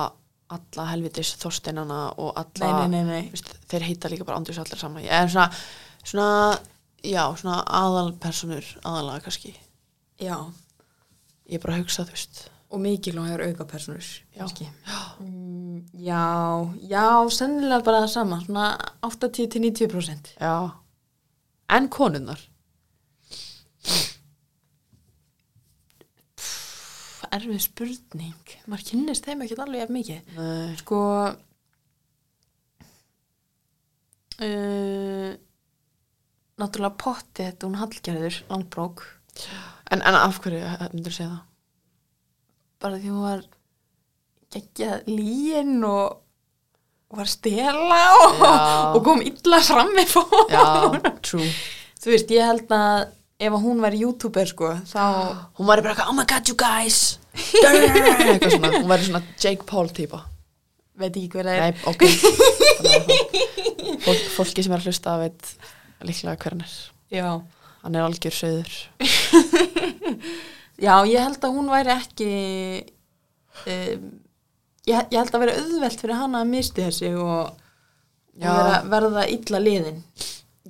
A: alla helvitis þorsteinana og alla
B: Nei, nei, nei,
A: þú
B: nei.
A: Veist, þeir heita líka bara andjus allir saman ég er svona, svona já, svona aðalpersonur aðalega kannski,
B: Já,
A: ég er bara að hugsa þú veist,
B: og mikilvægur aukapersonur.
A: Já.
B: kannski. Mm, já, já, sennilega bara það sama, svona 80-90%.
A: já en konunnar
B: Erfið spurning, maður kynnist þeim ekki alveg ef mikið.
A: Nei.
B: Sko, uh, náttúrulega potti þetta, hún Hallgerður, langbrók,
A: en, en af hverju eh, myndirðu segja það?
B: bara því hún var geggjað líin og og var að stela og,
A: Já.
B: og kom illa fram við fólk
A: já, true
B: þú veist, ég held að ef að hún var youtuber sko, þá
A: hún var bara eitthvað, oh my god you guys Drrrr, eitthvað svona, hún var svona Jake Paul típa
B: veit ég ekki hver það
A: nei,
B: er
A: ok Þannig að það- fólk, fólki sem er að hlusta veit líklega hver hann er
B: já.
A: hann er algjör söður
B: já, ég held að hún væri ekki um, ég, ég held að vera auðvelt fyrir hana að misti þessi og, og
A: Já.
B: vera, verða illa liðin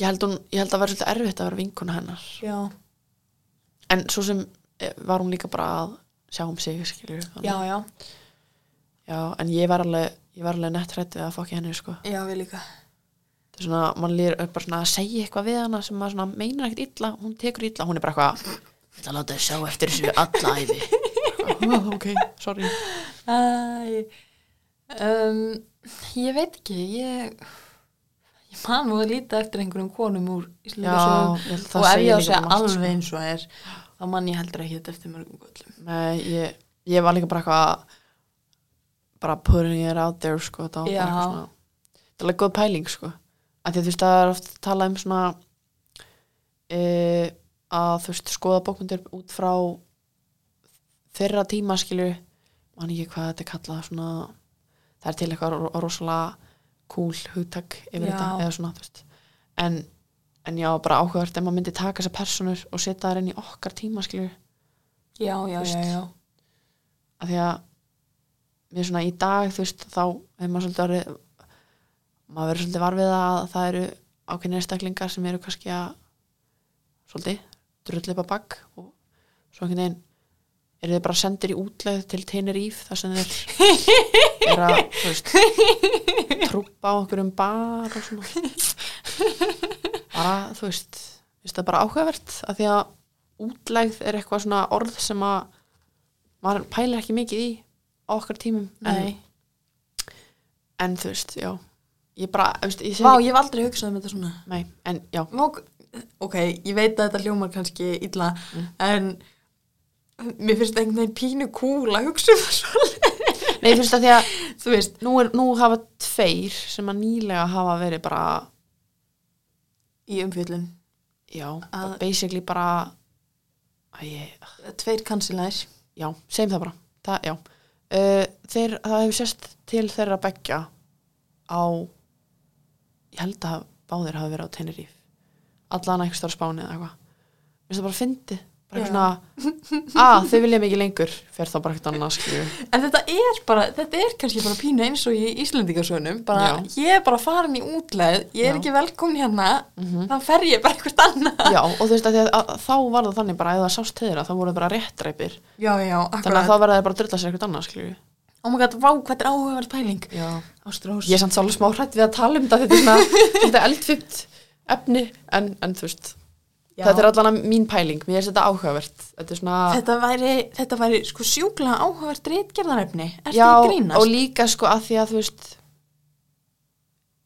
A: ég held, hún, ég held að vera svolítið erfitt að vera vinkuna hennar
B: já,
A: en svo sem eh, var hún líka bara að sjá um sig skilur,
B: já, já,
A: já, en ég var alveg ég var alveg nett hrætt við að fokki henni sko.
B: já, við líka
A: það er svona, mann lýr bara svona að segja eitthvað við hana sem maður svona meinar ekkert illa hún tekur illa, hún er bara eitthvað "Ég ætla að láta þið sjá eftir þessu alla æfi oh, ok, sorry
B: Æ, um, ég veit ekki, ég, ég man nú að líta eftir einhverjum konum úr Íslandasögum
A: Já, ég held það
B: og ef
A: segir
B: ég á
A: líka
B: að segja
A: bara margt, sko.
B: alveg eins og er, þá man ég heldur ekki þetta eftir mörgum göllum.
A: Nei, ég, ég var líka bara eitthvað bara putting it out there sko, það var
B: Já.
A: bara eitthvað svona það er alveg góð pæling sko að því að þú veist það er oft talað um svona e, að þú veist skoða bókmyndir út frá þeirra tíma skilju man ekki hvað þetta er kallað svona það er til eitthvað ro- rosalega cool hugtak yfir
B: Já.
A: þetta eða svona þú veist en, en já bara áhugavert ef maður myndi taka þessar personur og setja þær inn í okkar tíma skilju
B: Já, já,
A: Þú
B: já,
A: veist.
B: já.
A: að því að mér svona í dag þú veist þá er maður svolítið orðið maður verður svolítið varfið að það eru ákveðnir einstaklingar sem eru kannski að svolítið drullu upp að bakk og svo einhvern veginn eru þið bara sendir í útlegð til Tenerife þar sem þeir eru að þú veist trúpa á okkur um bar og svona bara þú veist þú veist það er bara áhugavert að því að útlegð er eitthvað svona orð sem að maður pælar ekki mikið í á okkar tímum en,
B: Nei.
A: en þú veist, já ég bara, þú veist, ég segi
B: Vá, ég hef aldrei hugsað um þetta svona.
A: Nei, en já,
B: Vá, ok, ég veit að þetta hljómar kannski illa, en mér finnst einhvern veginn pínu kúl að hugsa um það svona.
A: nei, þú veist að því að
B: Þú veist,
A: nú, er, nú hafa tveir sem að nýlega hafa verið bara,
B: í umfjöllun,
A: já,
B: Að-
A: basically bara að ég,
B: tveir kansilæs.
A: já, segjum það bara, það, já uh, þeir, það hefur sérst til þeirra beggja á ég held að báðir hafi verið á Tenerife allan eitthvað stóra spáni eða eitthvað Mér finnst það bara fyndi, bara eitthvað svona að þau vilja mikið lengur, fer þá bara eitthvað annað skilju
B: En þetta er bara, þetta er kannski bara pínu eins og í Íslendingasönum, bara ég er bara farin í útleið, ég er
A: Já.
B: ekki velkomin hérna, þá fer ég bara eitthvað annað.
A: já, og þú veist að, því að, að þá var það þannig bara, ef það sást til þeirra, þá voru þau bara réttreipir
B: Já, já,
A: Þannig
B: akkurat.
A: að þá verða þeir bara að drulla sér eitthvað annað, skilju.
B: Oh my god, vá, hvað þetta er áhugaverð pæling.
A: Já.
B: Ástrós.
A: Ég er samt svolítið smá hrætt við að tala um þetta, þetta er svona, þetta eldfimt efni, en, en þú veist,
B: Já.
A: þetta er allan að mín pæling, mér er þetta áhugavert. Þetta er svona,
B: Þetta væri, þetta væri sko sjúkla áhugaverð reitgerðarefni, er
A: já,
B: þetta að grínast?
A: og líka sko að því að þú veist,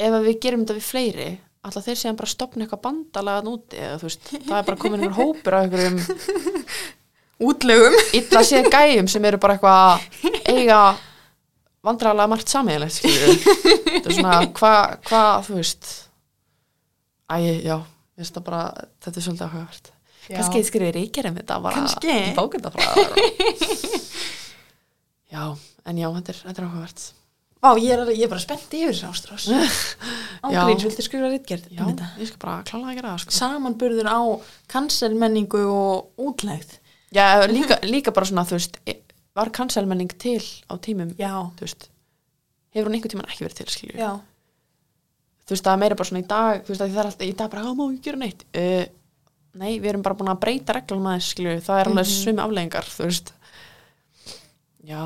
A: ef að við gerum þetta við fleiri, alltaf þeir séðan bara stopna eitthvað bandalagan úti, eða þú veist, það er bara komin einhver hópur af einhverjum
B: Útlegum.
A: illa séð gæjum sem eru bara eitthvað að eiga vandrarlega margt sammeðilegt skilur þetta er svona hvað hva, þú veist æ, já, ég veist það bara þetta er svolítið áhugavert
B: Já.
A: kannski ég skriði ríkir um þetta bara
B: Kannski.
A: bókendafræðar já, en já, þetta er, þetta er áhugavert
B: Vá, ég er, alveg- ég er bara spennt yfir þessu ástrós. Ángríns, viltu skrifa reitgerð
A: já,
B: um þetta?
A: ég skal bara klála að gera það sko.
B: Samanburður á kansermenningu og útlegð.
A: já, líka, líka bara svona, þú veist e- var kanselmenning til á tímum
B: Já,
A: þú veist, hefur hún einhvern tímann ekki verið til skilur
B: já,
A: þú veist, það er meira bara svona í dag þú veist, að það er alltaf í dag bara, já, má ekki gera neitt uh, nei, við erum bara búin að breyta reglum aðeins, skilju, það er alveg mm sumi afleggingar þú veist já,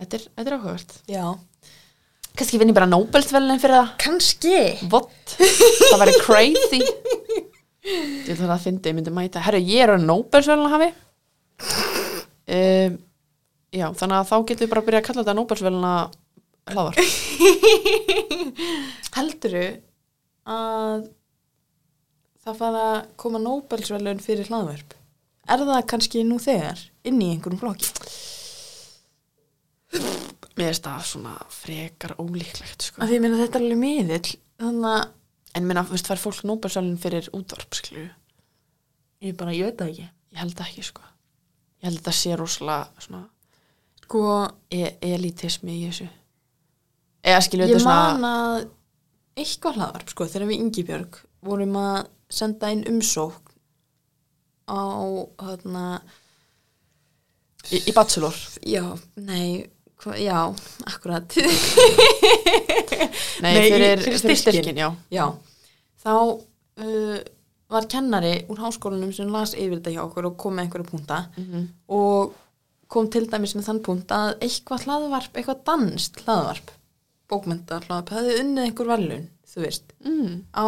A: þetta er, þetta er áhugavert
B: já.
A: kannski vinn ég bara Nobeltvelin fyrir það
B: Kanski.
A: what, það væri crazy ég ætla að fyndi, ég myndi mæta herru, ég er að Nobeltvelin hafi um, já, þannig að þá getum við bara að byrja að kalla þetta Nobeltvelin að hláðar
B: Helduru að það fara að koma Nóbelsverðlaun fyrir hlaðverp? Er það kannski nú þegar inn í einhverjum flokki?
A: mér finnst það svona frekar ólíklegt sko.
B: Af því ég meina þetta er alveg miðill þannig að
A: en minna, veist, fær fólk nóbelsölinn fyrir útvarp skilju,
B: ég bara, ég veit það ekki
A: ég held það ekki sko. ég held þetta sé rosalega svona
B: sko,
A: e elitismi í þessu eða skilju
B: ég
A: þetta svona
B: man að eitthvað hlaðvarp sko, þegar við Ingibjörg vorum að senda inn umsókn á hérna,
A: í, í bachelor
B: já, nei hva, já, akkurat
A: nei,
B: Nei, í-
A: fyrir,
B: fyrir
A: fyrir
B: styrkinn.
A: styrkin já.
B: já, þá uh, var kennari úr háskólanum sem las yfir þetta hjá okkur og kom með einhverju punta og kom til dæmis með þann punkt að eitthvað hlaðvarp, eitthvað danst hlaðvarp, bókmynda hlaðvarp hafði unnið einhver verðlun, þú veist
A: Mm.
B: á,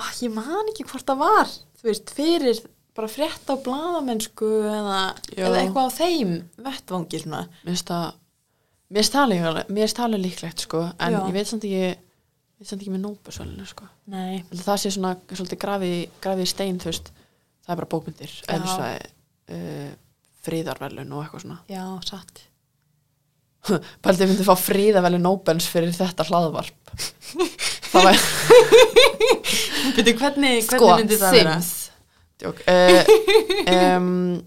B: ah, ég man ekki hvort það var, þú veist, fyrir bara frétt á bladamennsku eða,
A: Já.
B: eða eitthvað á þeim vettvangi svona,
A: mér finnst það mér finnst það líka- mér finnst það alveg líklegt sko, en
B: Já.
A: ég veit samt ekki ég veit samt ekki með nóbelsölinu sko.
B: nei,
A: Ég held að það sé svona svolítið grafið, grafið í stein þú veist, það er bara bókmyndir
B: Já.
A: eðlisvæði, uh, fríðarverlun og eitthvað svona
B: já, satt
A: Paldið myndi fá fríðarverlun Nobels fyrir þetta hlaðvarp það var
B: Byrju, hvernig, hvernig
A: sko,
B: myndi það vera?
A: Sims Djók, uh, um,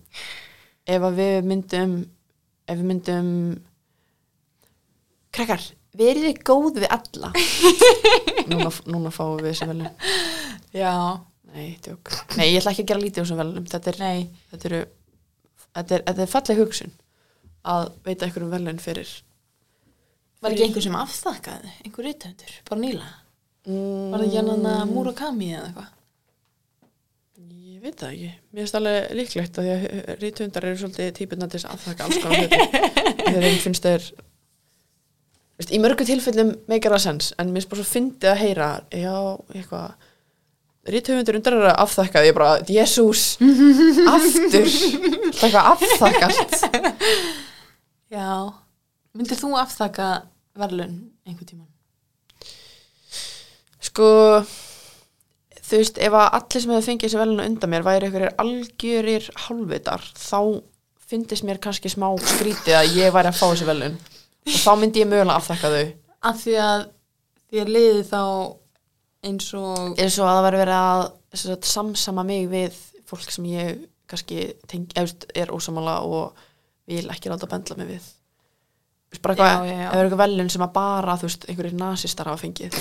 A: ef að við myndum ef við myndum krakkar, verið þið góð við alla núna, núna fáum við þessi velun
B: Já,
A: nei, djók nei, ég ætla ekki að gera lítið úr þessum velunum þetta er
B: nei,
A: þetta eru þetta er, þetta er falleg hugsun að veita einhverjum verðlaun fyrir
B: var ekki einhver sem afþakkaði, einhver rithöndur, bara nýla
A: mm,
B: var það ekki hann að Murakami eða eitthvað?
A: ég veit það ekki, mér finnst alveg líklegt að því að rítvöndar eru svolítið típuna til þess að þakka alls konar hluti þegar einn finnst þeir Veist, í mörgu tilfellum meikar það sens en mér finnst bara svo fyndið að heyra já, eitthvað rítvöfundur undrar að afþakka því ég bara, jesús aftur, Alltaf eitthvað afþakkast
B: Já, myndir þú afþakka verðlun einhver tíman?
A: Sko, þú veist, ef að allir sem hefur fengið þessi velinu undan mér væri ykkur algjörir hálfvitar, þá fyndist mér kannski smá skrítið að ég væri að fá þessi velin og þá myndi ég mögulega afþakka þau
B: Af því að því að liði þá eins og
A: eins og að það væri verið að sem sagt, samsama mig við fólk sem ég kannski tenk, eftir, er ósamála og vil ekki láta bendla mig við Þú veist, bara eitthvað,
B: Já, já,
A: ef
B: já.
A: það er eitthvað velun sem að bara, þú veist, einhverjir nasistar hafa fengið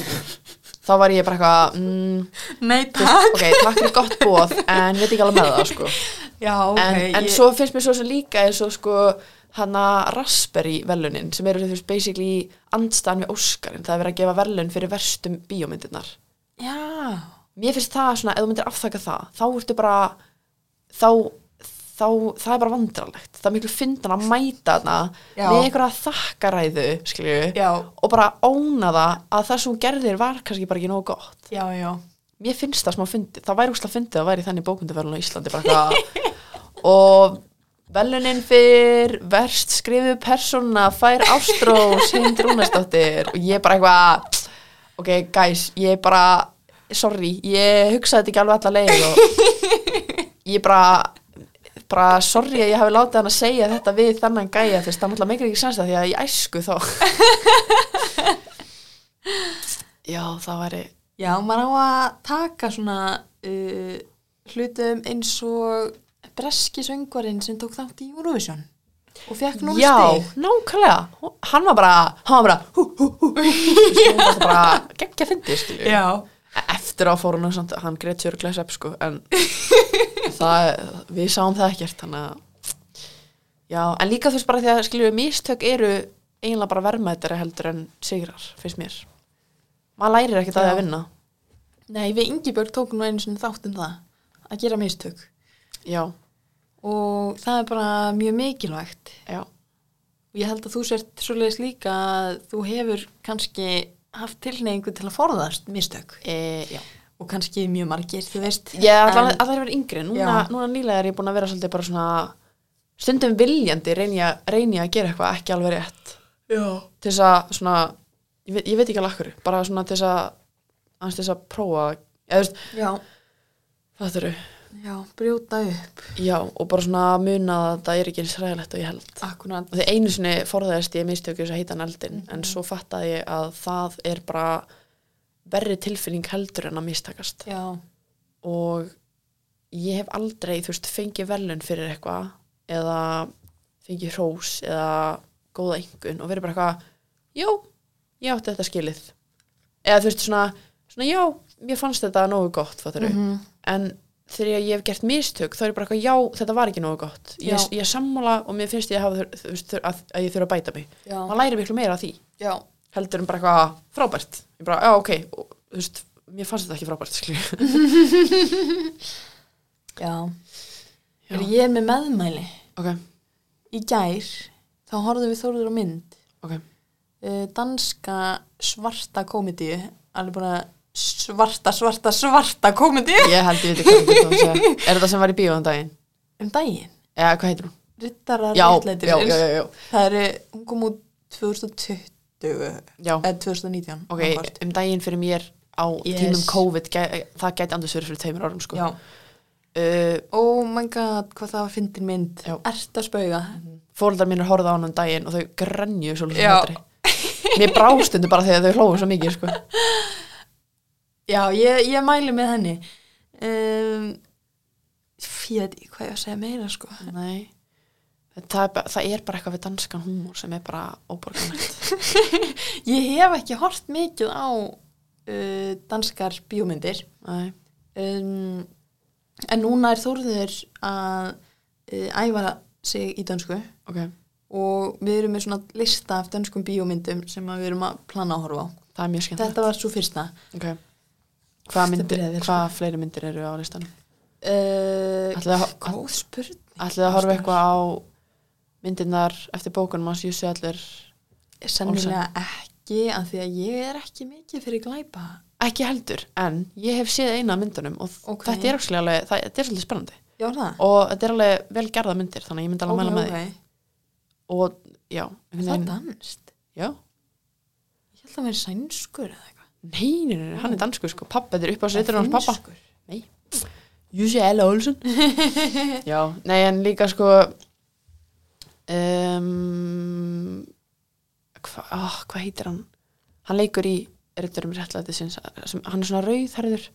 A: þá var ég bara eitthvað mm,
B: Nei,
A: þú veist, ok, takk fyrir gott bóð en veit ekki alveg með það, sko
B: Já, ok.
A: en, en
B: ég-
A: svo finnst mér svo sem líka eins og sko hana Raspberry velunin sem eru þú veist basically andstæðan við Óskarinn, það er verið að gefa velun fyrir verstum bíómyndirnar.
B: Já,
A: Mér finnst það svona, ef þú myndir afþaka það, þá ertu bara þá, þá, það er bara vandralegt, það er miklu fyndan að mæta hana
B: Já.
A: með einhverja þakkaræðu, skilju
B: já,
A: og bara óna það að það sem hún gerðir var kannski bara ekki nógu gott
B: já, já.
A: mér finnst það smá fyndið, það væri úrslega fyndið að væri þannig bókunduverðun á Íslandi bara hvað og velunin fyrr verst skrifu persóna fær Ástrós hinn Rúnastóttir og ég bara eitthvað ok guys, ég bara sorry, ég hugsaði þetta ekki alveg alla leið og ég bara bara sorry að ég hafi látið hann að segja þetta við þannan gæja þess það náttúrulega meikir ekki sens það því að ég æsku þá já það væri
B: Já, maður á að taka svona uh, hlutum eins og breski söngvarinn sem tók þátt í Eurovision og fekk núna
A: Já,
B: stig.
A: nákvæmlega Hó- Hann var bara, hann var bara hú, hú, hú Hún var bara geggja fyndi, skilju
B: Já.
A: Eftir á fórunum, samt, hann greitt sörglega sepp, sko En það, við sáum það ekkert Þannig að Já, en líka þú veist bara því að, skilju, mistök eru eiginlega bara verðmættari heldur en sigrar, finnst mér Maður lærir ekkert að
B: Já.
A: það að vinna
B: Nei, við Ingibjörg tókum nú einu sinni þátt um það að gera mistök
A: Já,
B: og það er bara mjög mikilvægt
A: já,
B: og ég held að þú sért svoleiðis líka að þú hefur kannski haft tilneyingu til að forðast mistök
A: e, já
B: og kannski mjög margir, þú veist
A: Ég ætla
B: En-
A: að það er verið yngri, núna,
B: Já.
A: núna nýlega er ég búin að vera svolítið bara svona stundum viljandi reyni, a, reyni að gera eitthvað ekki alveg rétt
B: Já.
A: til þess að svona, ég veit, ég veit ekki alveg akkur bara svona til þess að aðeins til þess að prófa, eða þú veist,
B: Já,
A: það þurru
B: já, brjóta upp
A: Já, og bara svona muna að það er ekki eins ræðilegt og ég held.
B: akkurat,
A: Og því einu sinni forðaðist ég mistökjus að heita hann eldin,
B: Mhm.
A: en svo fattaði ég að það er bara verri tilfinning heldur en að mistakast.
B: já,
A: Og ég hef aldrei, þú veist, fengið velun fyrir eitthvað eða fengið hrós eða góða engun og verið bara eitthvað, já, ég átti þetta skilið. Eða þú veist, svona, svona já, mér fannst þetta nógu gott, fattur
B: Mhm.
A: en þegar ég hef gert mistök þá er ég bara eitthvað, já, þetta var ekki nógu gott ég,
B: Já.
A: ég er sammála og mér finnst ég að, hafa, þur- þú veist, þur- að, að ég þurfa að bæta mig
B: já,
A: maður læri miklu meira af því
B: já,
A: heldur en bara eitthvað frábært ég bara, já, ok, og, þú veist mér fannst þetta ekki frábært, skilju
B: já.
A: Já.
B: Er, ég er með meðmæli
A: ok,
B: í gær, þá horfðum við Þórður á mynd
A: ok,
B: uh, danska svarta komedíu alveg bara svarta, svarta, svarta komedíu
A: ég held ég veit ekki hvað þetta var að segja. er þetta sem var í bíóðan daginn?
B: um daginn,
A: eða hvað heitir hún?
B: rittarar
A: Já, já, já, já, já,
B: það eru, hún kom út 2020
A: já.
B: eða 2019
A: ok,
B: annaðhvort.
A: um daginn fyrir mér á
B: Yes.
A: tímum COVID, gæ, það gæti andur sverið fyrir tveimur árum, sko
B: já
A: uh,
B: Oh my god, hvað það var fyndin mynd
A: Já.
B: Ert að spauga
A: fóreldar mínir horfða á hann um daginn og þau grænju svo
B: Já.
A: hlutri mér brástundu bara þegar þau hlóðu svo mikið sko.
B: Já, ég, ég mæli með henni um, Fyrir því hvað ég á að segja meira sko
A: nei það er, bara, það er bara eitthvað við danskan húmor sem er bara óborganlegt
B: Ég hef ekki hort mikið á uh, danskar bíómyndir
A: nei,
B: um, En núna er Þórður að uh, æfa sig í dansku
A: ok,
B: og við erum með svona lista af danskum bíómyndum sem að við erum að plana að horfa á.
A: það er mjög skemmt
B: Þetta var svo fyrsta.
A: okay. hvað, myndir,
B: Þetta byrjaði vel, sko.
A: hvað fleiri myndir eru á listanum
B: Uh,
A: Ætli að-
B: góð spurning.
A: ætlið að horfa eitthvað á myndirnar eftir bókunum hans Jussi Allir
B: Sennilega ekki, af því að ég er ekki mikið fyrir glæpa.
A: ekki heldur, en ég hef séð eina af myndunum og
B: Ok.
A: þetta er actually alveg, það, þetta er svolítið spennandi
B: Já, er það?
A: og þetta er alveg vel gerða myndir þannig að ég myndi alveg mæla með því
B: okay.
A: og já, einhvern
B: Er Það
A: veginn-
B: er danst.
A: já
B: Ég held að það væri sænskur eða eitthvað.
A: Nei, nei, nei, hann er dansku sko, pappa, þetta er upp á sveitur hans pappa
B: Finnskur.
A: Nei, Jussi Ella Olsson Já, nei, en líka sko um, hva, oh, Hvað heitir hann? Hann leikur í Ritturum réttlæti sinns sem, Hann er svona rauðherður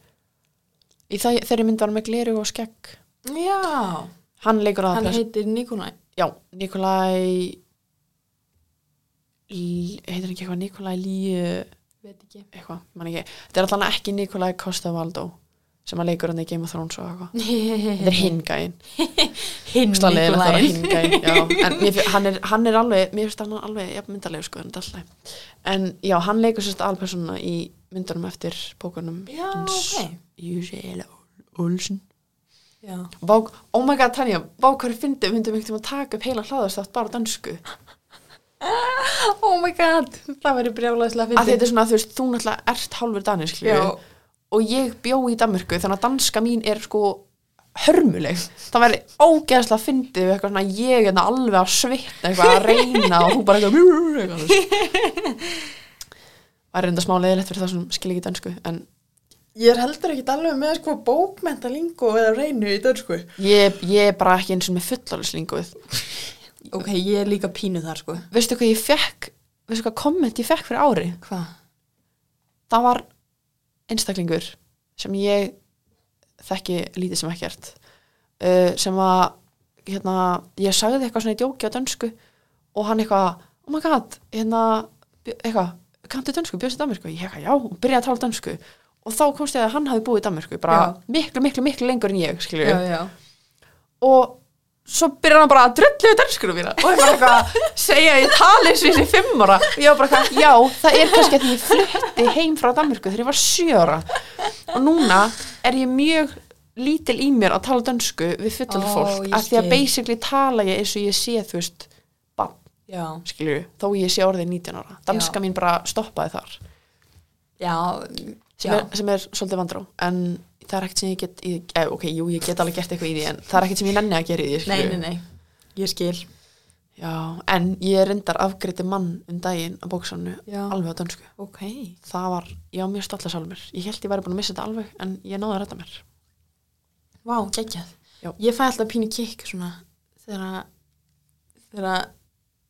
A: Í það, þeirri mynd var hann með gleru og skegg
B: Já,
A: Hann leikur að
B: hann heitir Nikolai.
A: Já, Nikolai L- Heitir hann ekki eitthvað Nikolai Líu
B: Veit ekki.
A: eitthvað, man ekki þetta er alltaf ekki Nikolai Costavaldó sem að leikur hann í Game of Thrones og eitthvað þetta er hinn gæinn,
B: Hinn
A: slæðilega það er
B: Nikolai.
A: hinn gæinn já, en mér, fi- hann, er, hann er alveg mér finnst hann alveg jafn myndalegu sko en, þetta er allt í lagi. en já, hann leikur sérst alpersona í myndunum eftir bókunum
B: Já, ok.
A: Júsiela Olsen
B: Já.
A: Vá, oh my god Tanja, vá hvað er fyndið, við myndum einhvern tímann taka upp heila hlaðastátt bara á dansku
B: Oh my god, það væri brjálaðislega
A: að þetta
B: fyndið.
A: er svona, þú veist, þú náttúrulega ert hálfur danisklu
B: Já.
A: og ég bjó í Danmörku þannig að danska mín er sko hörmuleg, það væri ógeðslega fyndið við eitthvað svona ég er alveg að svitna eitthvað að reyna og þú bara eitthvað, mjúr, eitthvað þú veist. það er reynda smá leðilegt fyrir það sem skil ekki dansku en
B: Ég er heldur ekkit alveg með sko bókmentalingu eða reynu í dörsku.
A: ég, ég er bara ekki eins og með fullalyslinguð
B: Ok, ég er líka pínu þar sko.
A: veistu hvað ég fekk veistu hvað komment ég fekk fyrir ári
B: Hvað?
A: það var einstaklingur sem ég þekki lítið sem ekkert uh, sem að hérna, ég sagði eitthvað svona í djóki á dönsku og hann eitthvað, oh my god hérna, bjó- eitthvað, kanntu dönsku, bjóðst í Danmörku ég eitthvað, já, og byrjaði að tala dönsku og þá komst ég að hann hafi búið í Danmörku bara miklu, miklu, miklu lengur en ég skilju,
B: já.
A: og svo byrjar hann bara að drullu við dönskunum mína og ég bara eitthvað að segja að ég tali eins og ég sé fimm ára og ég var bara eitthvað, já, það er kannski að ég flutti heim frá Danmörku þegar ég var sjö ára og núna er ég mjög lítil í mér að tala dönsku við fullur
B: Ó,
A: fólk
B: ég
A: af því að
B: skil.
A: basically tala ég eins og ég sé þú veist, bann,
B: Já,
A: skilju þó ég sé orðið 19 ára, danska
B: Já.
A: mín bara stoppaði þar
B: já,
A: sem er, sem er svolítið vandrá en það er ekkert sem ég get í, eh, ok, jú, ég get alveg gert eitthvað í því en það er ekkert sem ég nenni að gera í því
B: Nei,
A: skilurðu.
B: nei, nei, ég skil.
A: Já, en ég reyndar afgriði mann um daginn á bóksannu
B: Já.
A: alveg á dönsku.
B: Ok.
A: Það var, ég var mjög stolla sjálf mér. Ég held ég væri búin að missa þetta alveg en ég náði að rætta mér.
B: vá, geggjað
A: Já.
B: ég fæ alltaf pínu kikk svona þegar að- þegar að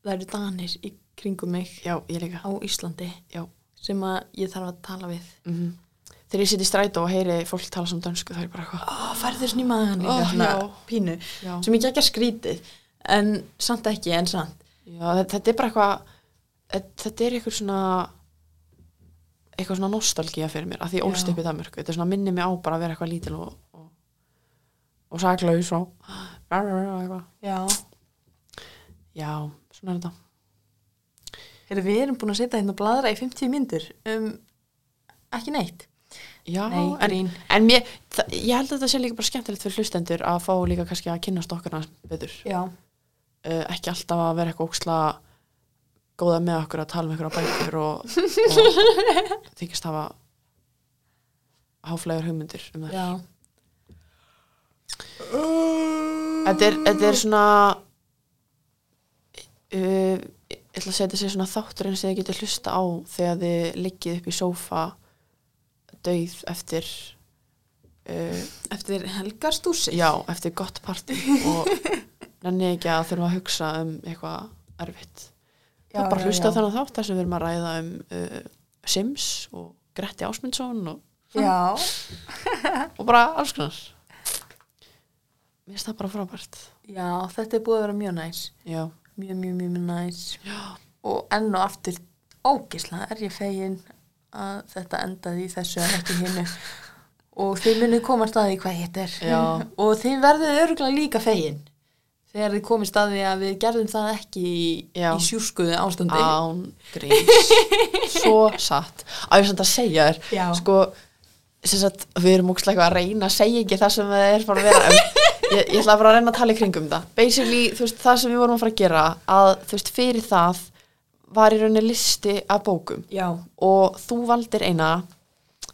B: það eru danir í kringum mig
A: Já, ég líka.
B: á Íslandi
A: Já.
B: sem að ég þarf að tala við
A: Mm Þegar ég siti í strætó og heyri fólk tala saman dönsku, það er ég bara eitthvað. "Ah,
B: ó, færðu þess nýmaðan
A: Ó, já.
B: pínu
A: hérna." Já.
B: sem ég geggja skrítið en samt ekki, en samt
A: Já, þe- þetta er bara eitthvað, þe- þetta er eitthvað svona, eitthvað svona nostalgía fyrir mér, að því
B: Já.
A: ég ólst upp í Danmörku. Þetta er svona minni mig á bara að vera eitthvað lítil og, og, og saklaus og eitthvað.
B: Já,
A: Já, svona er þetta.
B: Heru, við erum búin að setja hérna og bladra í 50 myndur um, ekki neitt
A: Já,
B: Nei,
A: en,
B: grín.
A: en mér, þa- ég held að þetta sé líka bara skemmtilegt fyrir hlustendur að fá líka kannski að kynnast okkar hans betur.
B: Já,
A: uh, ekki alltaf að vera eitthvað óksla góða með okkur að tala um eitthvað bækur og, og þykist hafa háflægur hugmyndir um það.
B: já
A: Þetta er, þetta er svona uh, ég ætla að segja þetta sé svona þátturinn sem þið getur hlusta á þegar þið liggið upp í sófa dauð eftir uh,
B: Eftir helgarstúsi
A: já, eftir gott partí og nenni ekki að þurfa að hugsa um eitthvað erfitt það er bara að hlusta á þannig þátt þar sem við erum að ræða um uh, Sims og Gretti Ásmundsson og,
B: Já,
A: og bara alls konar mér finnst það bara frábært
B: já, þetta er búið að vera mjög næs
A: já,
B: Mjög, mjög, mjög, mjög næs Og enn og aftur ógisla er ég fegin að þetta endaði í þessu en ekki hinnu og þið munið koma staði hvað þetta er
A: Já.
B: og þið verðið örgulega líka fegin þegar þið komið staði að við gerðum það ekki í,
A: Já. Ah.
B: í sjúskuðu ástandi
A: án gríns svo satt á ég samt að segja þér
B: Já.
A: sko, sem sagt, við erum ógstlega eitthvað að reyna að segja ekki það sem það er bara að vera um. ég, ég ætla bara að reyna að tala í kringum það basically, þú veist, það sem við vorum að fara að gera að, þú veist, fyrir það var í rauninni listi af bókum
B: Já,
A: og þú valdir eina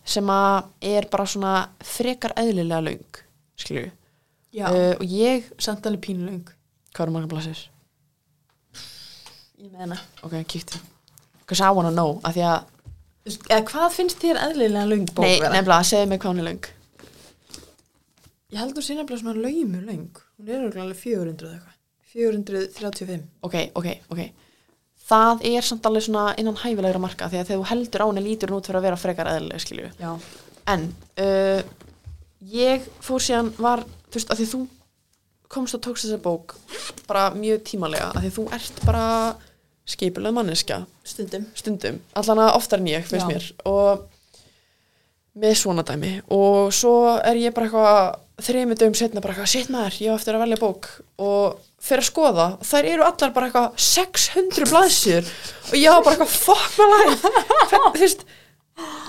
A: sem að er bara svona frekar eðlilega löng skilju
B: já,
A: uh, og ég,
B: samt alveg pínlöng
A: hvað eru margar blasir?
B: Ég meina
A: ok, kíktu because I wanna know, af því að
B: Eða hvað finnst þér eðlilega löng bók
A: nei,
B: vera?
A: nefnilega, segðu mig hvað hún er löng
B: Ég held þú sé nefnilega svona laumu löng. Hún er örugglega alveg 400 eða eitthvað. 435.
A: ok, ok, ok það er samt alveg svona innan hæfilegra marka því að þegar þú heldur á henni lítur hún út fyrir að vera frekar eðlilega skilju
B: Já.
A: en uh, ég fór síðan var þú veist, að því þú komst og tókst þessa bók bara mjög tímalega, að því þú ert bara skipuleg manneskja
B: Stundum.
A: stundum, allan að oftar en ég, finnst
B: Já.
A: mér og með svona dæmi og svo er ég bara eitthvað þrejum dögum setna bara eitthvað, shit maður, ég á eftir að velja bók og fyrir að skoða, þær eru allar bara eitthvað 600 blaðsýður og ég á bara eitthvað, fuck my life Hvern, þú veist,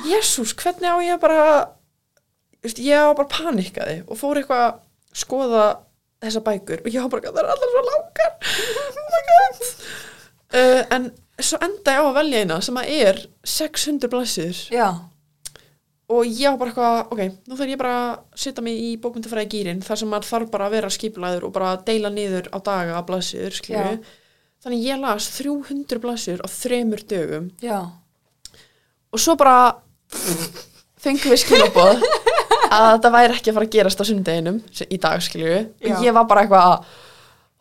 A: jésús hvernig á ég bara þú veist, ég á bara panikaði og fór eitthvað að skoða þessa bækur og ég á bara eitthvað, það er allar svo langar oh my god uh, en svo enda ég á að velja eina sem að er 600 blaðsýður
B: Já.
A: og ég var bara eitthvað, ok, nú þarf ég bara að setja mig í bókmyndafræði gýrin þar sem maður þarf bara að vera skipulæður og bara deila niður á daga að blaðsýður, skilju
B: Já.
A: þannig ég las 300 blaðsýður á þremur dögum
B: Já.
A: og svo bara fengum við skilaboð að þetta væri ekki að fara að gerast á sundeginum í dag, skilju
B: Já.
A: og ég var bara eitthvað,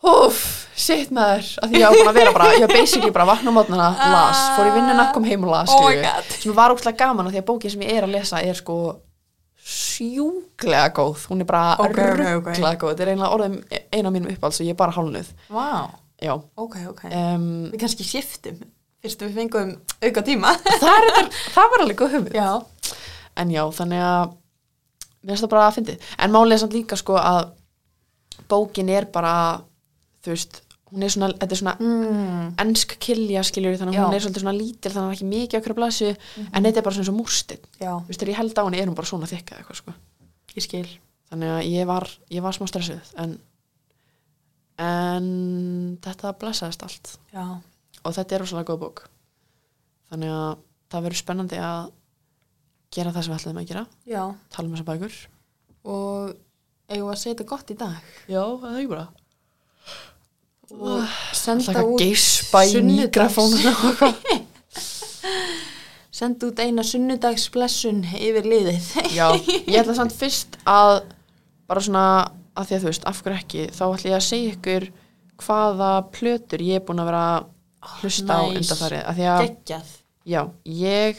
A: húf sitt maður, af því ég var búin að vera bara ég var basically bara vakna á mótnana, las fór í vinnuna, kom heim og las,
B: Oh my
A: skilju
B: God.
A: sem var ókslega gaman af því að bókið sem ég er að lesa er sko sjúklega góð, hún er bara
B: Ok, ok,
A: rugglega
B: ok.
A: góð, þetta er eiginlega orðum eina mínum uppáhalds og ég er bara hálnuð
B: Vá. Wow.
A: já,
B: Ok, ok.
A: um,
B: Við kannski shiftum. Fyrst við fengum auka tíma.
A: það, er, þetta- það var alveg góð hugmynd
B: Já.
A: en já, þannig að mér finnst það bara að fyndi en málið er samt líka sko að bókin er bara þú veist, hún er svona, þetta er svona
B: Mm.
A: ensk kilja skiljur þannig að hún
B: Já.
A: er svolítið svona lítil þannig að hún er ekki mikið okkur að blasju en þetta er bara svona eins og múrstin
B: Já.
A: þú veist, þegar ég held á henni er hún bara svona þykka eða eitthvað sko
B: Ég skil.
A: þannig að ég var, ég var smá stressuð en en þetta blessaðist allt
B: Já.
A: og þetta er rosalega góð bók þannig að það verður spennandi að gera það sem við ætlaðum að gera
B: Já.
A: tala um þessar bækur
B: Og eigum við að segja þetta gott í dag.
A: Já, það er ekki bara
B: Og
A: Það er
B: senda
A: eitthvað
B: út,
A: geispa í
B: sunnudags.
A: mikrofónu
B: senda út eina sunnudagsblessun yfir liðið.
A: Já, ég ætla samt fyrst að bara svona að því að þú veist, af hverju ekki þá ætla ég að segja ykkur hvaða plötur ég er búin að vera að hlusta á
B: Ah, nice.
A: undanfarið af því að
B: geggjað
A: Já, ég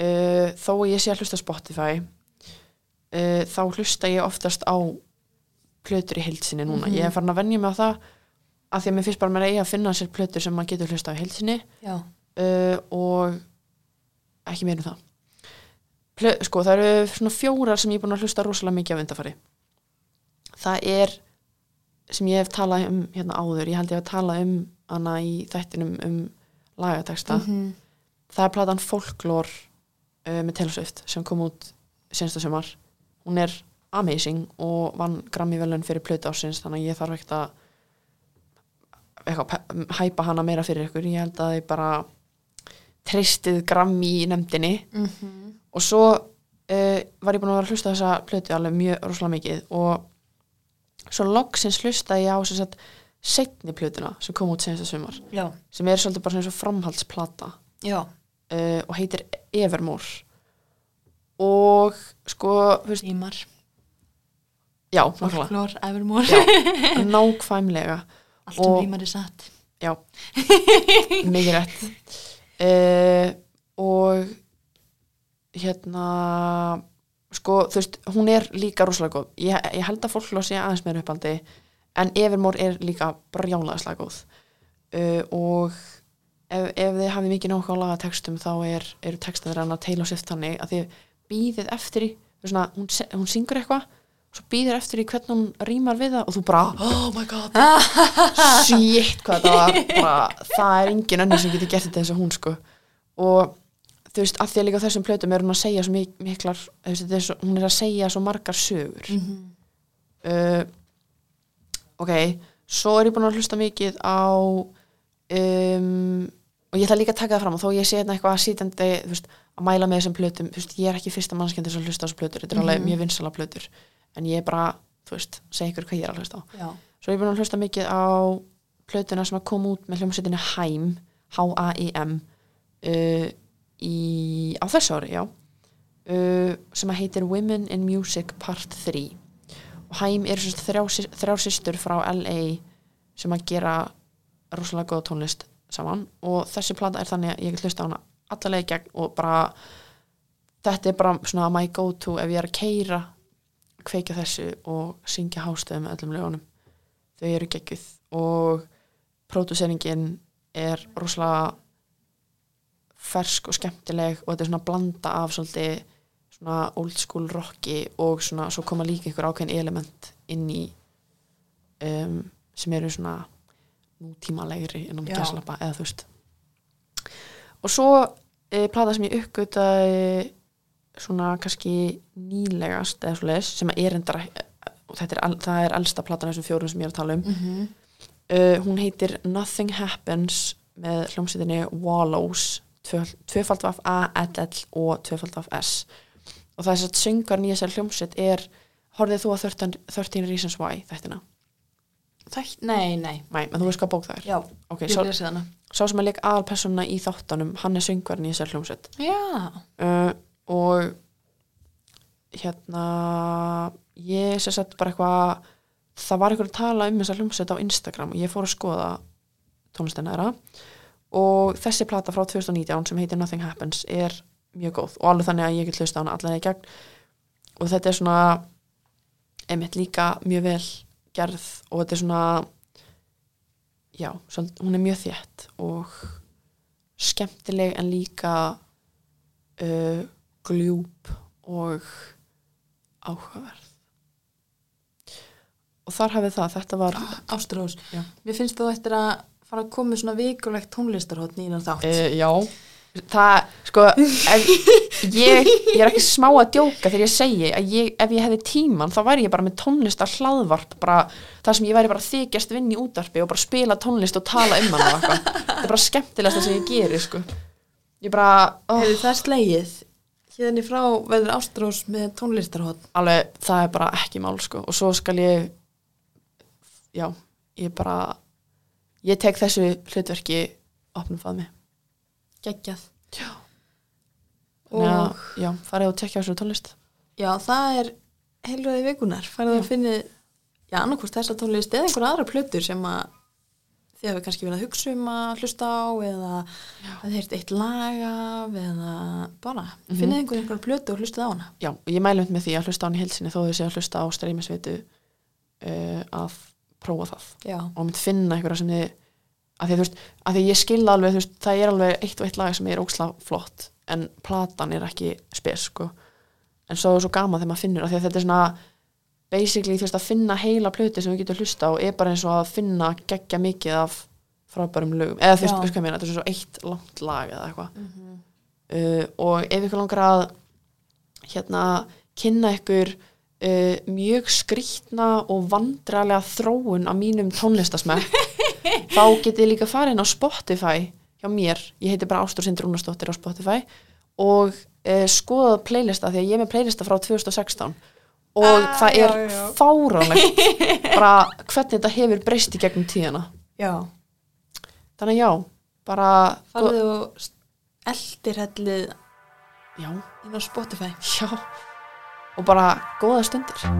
A: uh, þó að ég sé að hlusta á Spotify uh, þá hlusta ég oftast á plötur í heilsinni núna.
B: Mhm.
A: Ég er farin að venja mig á það af því að mér finnst bara mér eigi að finna sér plötur sem maður getur hlusta á í heilsinni
B: já,
A: uh, og ekki meira um það. Plö, sko, það eru svona fjórar sem ég er búin að hlusta rosalega mikið af undafari. Það er sem ég hef talað um hérna áður, ég held ég hef talað um hana í þættinum um lagateksta
B: Mhm.
A: það er platan Folklore uh, með Taylor Swift sem kom út sensta sumar hún er amazing og vann Grammy velun fyrir plötu ásins þannig að ég þarf ekkert að eitthvað, pe- hæpa hana meira fyrir ykkur ég held að þið bara treystið Grammy í nefndinni
B: Mhm.
A: og svo uh, var ég búin að vera að hlusta á þessa plötu alveg mjög rosalega mikið og svo loksins hlustaði ég á sem sagt setni plötuna sem kom út sensta sumar
B: já,
A: sem er svolítið bara svona eins og framhaldsplata
B: já,
A: uh, og heitir Evermore og sko þú veist,
B: tímar
A: já, nákvæmlega,
B: folklór, evermore
A: nákvæmlega
B: allt um
A: Og-
B: tímar er satt
A: já, mikið rétt uh, og hérna sko, þú veist, hún er líka rosalega góð, ég, ég held að fólk sé aðeins meira uppaldi, en Evermore er líka brjálaðislega góð uh, og ef, ef þið hafið mikið náhuga á lagatextum þá er, eru textaður hann að teila sér þannig að þið býðið eftir í þú veist svona, hún, se- hún syngur eitthvað svo býðir eftir í hvernig hún rýmar við það og þú bara, oh my god shit hvað þetta var bara, það er engin önnur sem getur gert þetta eins og hún sko og þú veist, af því að líka á þessum plötum er hún að segja svo mik miklar, þú veist, þetta er svo, hún er að segja svo margar sögur
B: Mhm.
A: uh, ok, svo er ég búin að hlusta mikið á um, og ég ætla líka að taka það fram og þó ég sé hérna eitthvað að sýtandi þú veist, að mæla með þessum plötum, þú veist, ég er ekki fyrsta mannskjönd þess að hlusta á þessum plötur, þetta er alveg
B: Mhm.
A: mjög vinsala plötur en ég er bara, þú veist, segi ykkur hvað ég er að hlusta á
B: já,
A: svo er ég búin að hlusta mikið á plötuna sem að koma út með hljómsveitinu Haim H-A-I-M uh, í, á þessu ári, já uh, sem að heitir Women in Music Part 3 og Haim eru sem sagt þrjá, sys- þrjár systur frá LA sem að gera rosalega góða tónlist saman og þessi plata er þannig að ég get hlusta á hana allalega í gegn og bara þetta er bara svona my go to ef ég er að keira kveikja þessu og syngja hástöðum með öllum lögunum þau eru geggjuð og pródúseringin er rosalega fersk og skemmtileg og þetta er svona blanda af svolítið svona old school rocki og svona svo koma líka einhver ákveðin element inn í um, sem eru svona nútímalegri innan
B: Já.
A: gæslappa eða þú veist og svo e, plata sem ég uppgötaði svona kannski nýlegast eða svo leis sem er endara og þetta er, al- það er elsta platan af þessum fjórum sem ég er að tala um
B: Mhm.
A: uh, hún heitir Nothing Happens með hljómsveitinni Wallows tvöfaldvaf A-L-L og tvöfaldvaf S og það er satt söngarn í þessari hljómsveit er horfið þú að 13, 13 Reasons Why þættina,
B: Þætt, nei, nei,
A: mæ, en þú veist hvað bók það er
B: já,
A: ok,
B: ég
A: sá,
B: lesið hana
A: sá sem er leik aðalpersona í þáttanum hann er söngarn í þessari hljómsveit
B: já,
A: uh, og hérna ég sér sett bara eitthvað það var eitthvað að tala um þessa hljómsveit á Instagram og ég fór að skoða tónlistina þeirra og þessi plata frá 2019 sem heitir Nothing Happens er mjög góð og alveg þannig að ég get hlusta á hana allan í gegn og þetta er svona einmitt líka mjög vel gerð og þetta er svona já, svol- hún er mjög þétt og skemmtileg en líka uh, gljúb og áhugaverð og þar hafið það, þetta var
B: Ástrós
A: Já.
B: Mér finnst þú eftir að fara að koma með svona vikulegt tónlistarhóttn í innan þátt
A: Uh, já Það, sko ef, ég, ég er ekki smá að djóka þegar ég segi að ég, ef ég hefði tíman þá væri ég bara með tónlist að hlaðvarp bara, þar sem ég væri bara að þykjast vinn í útarpi og bara spila tónlist og tala um hana og eitthvað. þetta er bara skemmtilegasta sem ég geri sko. ég bara oh,
B: Hefur það er slegið Hérna í frá verður Ástrós með tónlistarhóttn
A: alveg, það er bara ekki mál sko. og svo skal ég já, ég bara ég tek þessu hlutverki opnum faðmi
B: Geggjað
A: Þannig
B: Og
A: að, já, farið og tekja þessu tónlist
B: já, það er heilvæði vikunar farið að finna já, annarkvist þessa tónlist eða einhverja aðra plötur sem að þið hafið kannski verið að hugsa um að hlusta á eða að þið heirt eitt lag af eða bara mm -hmm. finnið einhver einhverja plötu og hlustað á hana
A: Já, og ég mælum með því að hlusta á hann í helsini þó þau séu að hlusta á streymisveitu uh, að prófa það
B: já,
A: og mynd finna einhverja sem þið að því, þú veist, að því ég skilða alveg þú veist, það er alveg eitt og eitt lag sem er óksla flott en platan er ekki spes sko. en svo er svo gaman þegar maður finnur af því að þetta er svona basically þú veist að finna heila plöti sem við getum hlusta á er bara eins og að finna geggja mikið af frábærum lögum eða þú veist,
B: Já.
A: veist hvað ég meina, þetta er svo eitt langt lag eða eitthvað uh, og ef ykkur langar að hérna kynna ykkur uh, mjög skrýtna og vandralega þróun á mínum tónlistasmekk þá getið líka farin á Spotify hjá mér, ég heiti bara Ástur Sindri Rúnarsdóttir á Spotify og uh, skoðað playlista því að ég er með playlista frá 2016 og
B: Ah,
A: það er
B: já, já.
A: fáránlegt bara hvernig þetta hefur breyst í gegnum tíðina
B: já.
A: þannig að já, bara
B: farið og st- eldir hellið
A: já,
B: inn á Spotify
A: já og bara góða stundir
B: já